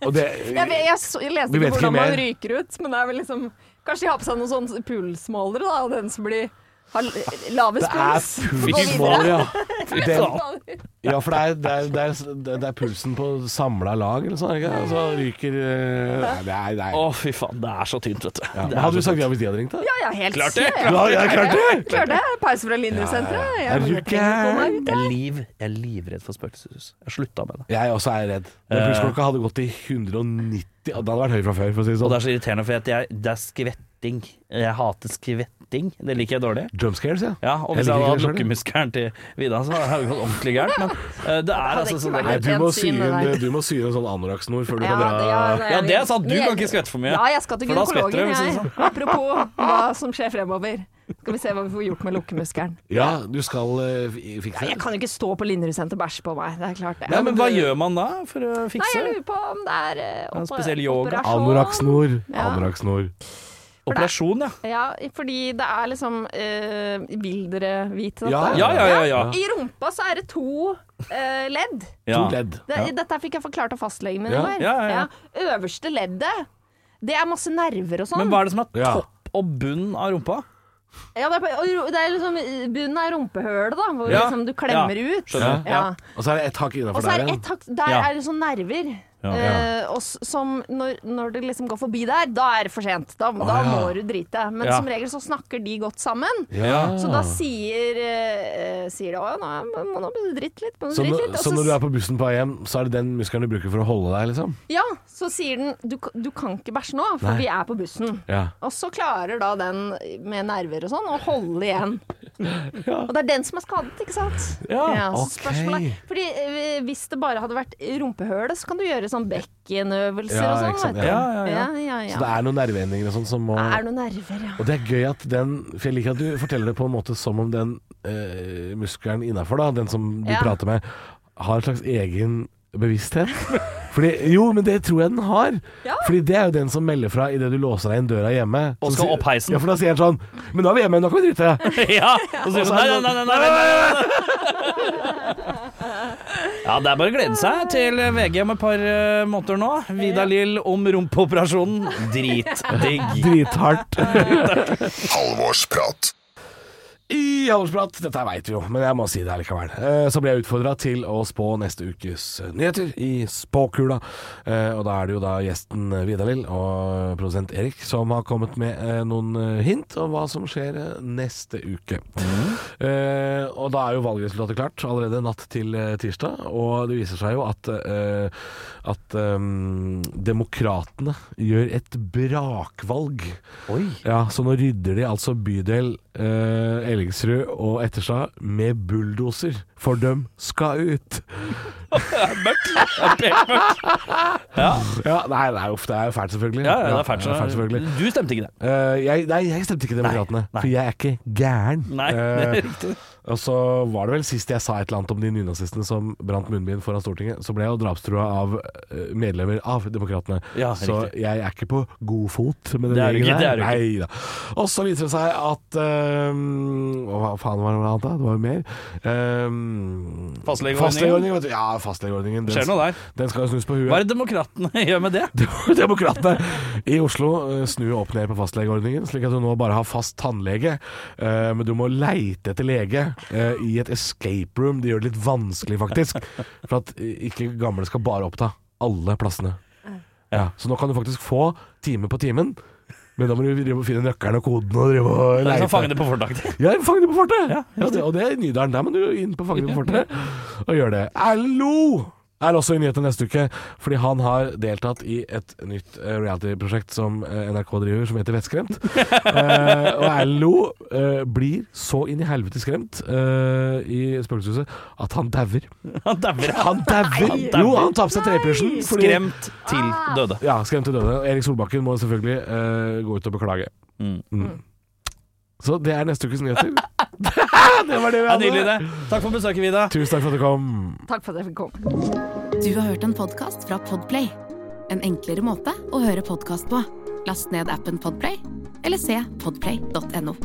Speaker 2: Og det
Speaker 5: Jeg, vet- jeg, så- jeg leste
Speaker 2: Vi
Speaker 5: ikke
Speaker 2: vet ikke
Speaker 5: hvordan man
Speaker 2: mer.
Speaker 5: ryker ut, men det er vel liksom Kanskje de har på seg noen sånne pulsmålere, da, og den som blir Har l- lavest
Speaker 2: Det er
Speaker 5: puls.
Speaker 2: pulsmål, ja. Den,
Speaker 5: Faen.
Speaker 2: ja, for det er, det, er, det, er, det er pulsen på samla lag, eller sånn, ikke? Og så ryker eh, Nei, det er nei.
Speaker 4: Å, fy faen. Det er så tynt, vet du.
Speaker 2: Ja.
Speaker 4: Det
Speaker 2: Men
Speaker 4: er
Speaker 2: Hadde
Speaker 4: så
Speaker 2: du sagt ja hvis de hadde ringt, da?
Speaker 5: Ja, ja, helt
Speaker 4: Klart det,
Speaker 5: sikkert.
Speaker 2: Ja, jeg klarte det!
Speaker 5: Klart det. Pause fra Lindrud-senteret.
Speaker 2: Ja, ja, ja.
Speaker 5: Jeg
Speaker 2: Er du
Speaker 5: holder penger på meg, vet
Speaker 4: Jeg er, liv, jeg er livredd for spøkelseshus. Jeg slutta med det.
Speaker 2: Jeg også er redd. Men pulsklokka hadde gått til 190, og det hadde vært høy fra før, for å si det
Speaker 4: Og
Speaker 2: sånn.
Speaker 4: det er så irriterende, for at jeg, det er skvetting. Jeg hater skvetting. Det liker jeg dårlig.
Speaker 2: Jump scares, ja.
Speaker 4: Ja, og hvis
Speaker 2: Jeg liker
Speaker 4: jeg hadde hatt
Speaker 2: ikke det selv.
Speaker 4: lukkemuskelen til Vida, så hadde det gått ordentlig gærent. Men eh, det er altså sånn det
Speaker 5: ikke
Speaker 2: Nei,
Speaker 4: er.
Speaker 2: du må
Speaker 5: Pent
Speaker 2: sy
Speaker 5: syn,
Speaker 2: en,
Speaker 5: det der.
Speaker 2: du må sy en sånn anorakksnor før du
Speaker 5: Ja,
Speaker 2: kan
Speaker 5: det- ja,
Speaker 2: dra
Speaker 5: det-
Speaker 4: Ja, det er sant. Du kan ikke skvette for mye.
Speaker 5: Ja, jeg skal til
Speaker 4: For da skvetter
Speaker 5: gynekologen,
Speaker 4: jeg, hvis sånn. det er
Speaker 5: jeg. Apropos hva som skjer fremover. Skal vi se hva vi får gjort med lukkemuskelen.
Speaker 2: Ja, du skal eh, fi- fikse
Speaker 5: Jeg
Speaker 2: det.
Speaker 5: kan jo ikke stå på Linderud-senteret og bæsje på meg, det er klart det.
Speaker 4: Ja, men hva gjør man da for å
Speaker 5: Nei, jeg
Speaker 4: fikse?
Speaker 5: lurer på om det er eh,
Speaker 4: En
Speaker 5: oppa-
Speaker 4: spesiell yoga.
Speaker 5: operasjon.
Speaker 2: Anorakksnor.
Speaker 5: Ja.
Speaker 2: Anorakksnor.
Speaker 4: Operasjon, ja.
Speaker 5: Ja, fordi det er liksom eh, Vil dere vite dette?
Speaker 2: Ja,
Speaker 4: Ja, ja, ja. ja.
Speaker 5: I rumpa så er det to eh, ledd.
Speaker 2: To
Speaker 4: ja.
Speaker 2: ledd.
Speaker 5: Det,
Speaker 4: Ja.
Speaker 5: Dette her fikk jeg forklart av fastlegen min
Speaker 2: Ja.
Speaker 5: i går.
Speaker 4: Ja, ja, ja.
Speaker 5: Øverste leddet, det er masse nerver og sånn.
Speaker 4: Men hva er det som er
Speaker 2: Ja.
Speaker 4: topp og bunn av rumpa?
Speaker 5: Ja, det er, på- og det er liksom bunnen av rumpehølet, da, hvor
Speaker 4: Ja.
Speaker 5: liksom du klemmer
Speaker 4: Ja.
Speaker 5: ut.
Speaker 2: Ja.
Speaker 4: Skjønner.
Speaker 5: Ja.
Speaker 4: Ja.
Speaker 2: Og så er det ett hakk
Speaker 5: Og
Speaker 2: innafor
Speaker 5: så
Speaker 2: der
Speaker 5: er det
Speaker 2: igjen.
Speaker 5: ett hakk Der
Speaker 4: Ja.
Speaker 5: er det sånn nerver.
Speaker 4: Ja.
Speaker 5: eh, og s- som når, når det liksom går forbi der, da er det for sent. Da, da
Speaker 2: ja.
Speaker 5: må du drite. Men
Speaker 4: Ja.
Speaker 5: som regel så snakker de godt sammen.
Speaker 2: Ja.
Speaker 5: Så da sier, eh, sier de å, nå må nå må du drite litt. Må du
Speaker 2: Så,
Speaker 5: drite
Speaker 2: når-
Speaker 5: litt. Og
Speaker 2: så når du er på bussen på vei hjem, så er det den muskelen du bruker for å holde deg, liksom?
Speaker 5: Ja, så sier den du, k- du kan ikke bæsje nå, for
Speaker 2: Nei.
Speaker 5: vi er på bussen.
Speaker 2: Ja.
Speaker 5: Og så klarer da den med nerver og sånn å holde igjen. Og det er den som er skadet, ikke sant?
Speaker 4: Ja,
Speaker 5: så
Speaker 2: ok.
Speaker 5: spørsmålet er- Fordi eh, hvis det bare hadde vært rumpehølet, så kan du gjøre sånn bekkenøvelser
Speaker 2: Ja,
Speaker 5: og
Speaker 2: ikke
Speaker 5: sånn.
Speaker 2: sant,
Speaker 5: vet du.
Speaker 4: Ja,
Speaker 5: Ja,
Speaker 4: ja, ja.
Speaker 5: ja, ja.
Speaker 2: Så det er noen nerveendinger og sånn som må
Speaker 5: Er det noen nerver, ja.
Speaker 2: Og det er gøy at den For jeg liker at du forteller det på en måte som om den eh, muskelen innafor, da, den som du
Speaker 5: Ja.
Speaker 2: prater med, har en slags egen bevissthet. Fordi, jo, men det tror jeg den har.
Speaker 5: Ja.
Speaker 2: Fordi det er jo den som melder fra idet du låser deg inn døra hjemme.
Speaker 4: Og
Speaker 2: Som
Speaker 4: skal
Speaker 2: sier-
Speaker 4: opp heisen.
Speaker 2: Ja, for da sier han sånn Men nå er vi hjemme, nå kan vi drite.
Speaker 4: Ja! Og så sier du nei, nei, nei, nei, nei, nei, nei. Ja, det er bare å glede seg til VG om et par eh, måneder nå. Vida Lill om rumpeoperasjonen. Dritdigg.
Speaker 2: Drithardt.
Speaker 3: Halvorsprat.
Speaker 2: I Halvorsprat, dette veit vi jo, men jeg må si det likevel. Eh, Så ble jeg utfordra til å spå neste ukes eh, nyheter i spåkula. Eh, Og da er det jo da gjesten Vidar-Lill og produsent Erik som har kommet med eh, noen eh, hint om hva som skjer eh, neste uke. Eh, Og da er jo valgresultatet klart allerede natt til eh, tirsdag, og det viser seg jo at, eh, at eh, Demokratene gjør et brakvalg.
Speaker 4: Oi.
Speaker 2: Ja, så nå rydder de altså bydel eh, Ellingsrud og Etterstad med bulldoser, for dem skal ut. Ja, nei, nei, uff, det er jo fælt, selvfølgelig.
Speaker 4: Ja, ja, det er
Speaker 2: Ja,
Speaker 4: fælt.
Speaker 2: det er fælt selvfølgelig.
Speaker 4: Du stemte ikke det.
Speaker 2: Eh, jeg, nei, jeg stemte ikke Demokratene,
Speaker 4: nei.
Speaker 2: for jeg er ikke gæren.
Speaker 4: Nei, det
Speaker 2: Eh,
Speaker 4: er riktig.
Speaker 2: og så var det vel sist jeg sa et eller annet om de nynazistene som brant munnbind foran Stortinget, så ble jeg jo drapstrua av eh, medlemmer av Demokratene.
Speaker 4: Ja,
Speaker 2: så
Speaker 4: riktig.
Speaker 2: jeg er ikke på god fot med
Speaker 4: Det
Speaker 2: den
Speaker 4: er du
Speaker 2: gjengen
Speaker 4: ikke, det
Speaker 2: der.
Speaker 4: er du
Speaker 2: Nei
Speaker 4: ikke.
Speaker 2: da. Og så viser det seg at eh, Hva faen var det noe annet da? Det var jo mer. Eh,
Speaker 4: Fastlegeordningen.
Speaker 2: fastlegeordningen, vet du. Ja, fastlegeordningen. Den,
Speaker 4: Skjer noe der.
Speaker 2: den skal jo snus på huet.
Speaker 4: Hva er det demokratene gjør med det?
Speaker 2: Demokratene i Oslo eh, snur opp ned på fastlegeordningen, slik at du nå bare har fast tannlege. eh, Men du må leite etter lege eh, i et escape room. Det gjør det litt vanskelig, faktisk. For at eh, ikke gamle skal bare oppta alle plassene. Ja, så nå kan du faktisk få time på timen, men da må du drive og finne nøkkelen og koden og drive og
Speaker 4: Det er som
Speaker 2: leite.
Speaker 4: fangene på fortaket.
Speaker 2: Ja, Fangene på fortet! Ja, det, og det er i Nydalen. Der må du inn på Fangene på fortet og gjøre det. Erlend Lo er også i nyhetene neste uke, fordi han har deltatt i et nytt eh, reality-prosjekt som eh, NRK driver, som heter Vettskremt. Eh, og Erlend Lo eh, blir så inn i helvete skremt eh, i Spøkelseshuset at han dauer.
Speaker 4: Han dauer.
Speaker 2: Han dauer!
Speaker 4: dauer.
Speaker 2: Jo, han tar på seg trepysjen. fordi-
Speaker 4: Skremt til døde.
Speaker 2: Ja, skremt til døde. Erik Solbakken må selvfølgelig eh, gå ut og beklage.
Speaker 4: Mm.
Speaker 2: Mm. Så det er neste ukes nyheter. det var det vi
Speaker 4: Det
Speaker 2: hadde.
Speaker 4: er nydelig, det. Takk for besøket, Vida.
Speaker 2: Tusen takk for at du kom.
Speaker 5: Takk for at jeg fikk komme.
Speaker 1: Du har hørt en podkast fra Podplay. En enklere måte å høre podkast på. Last ned appen Podplay, eller se podplay.no.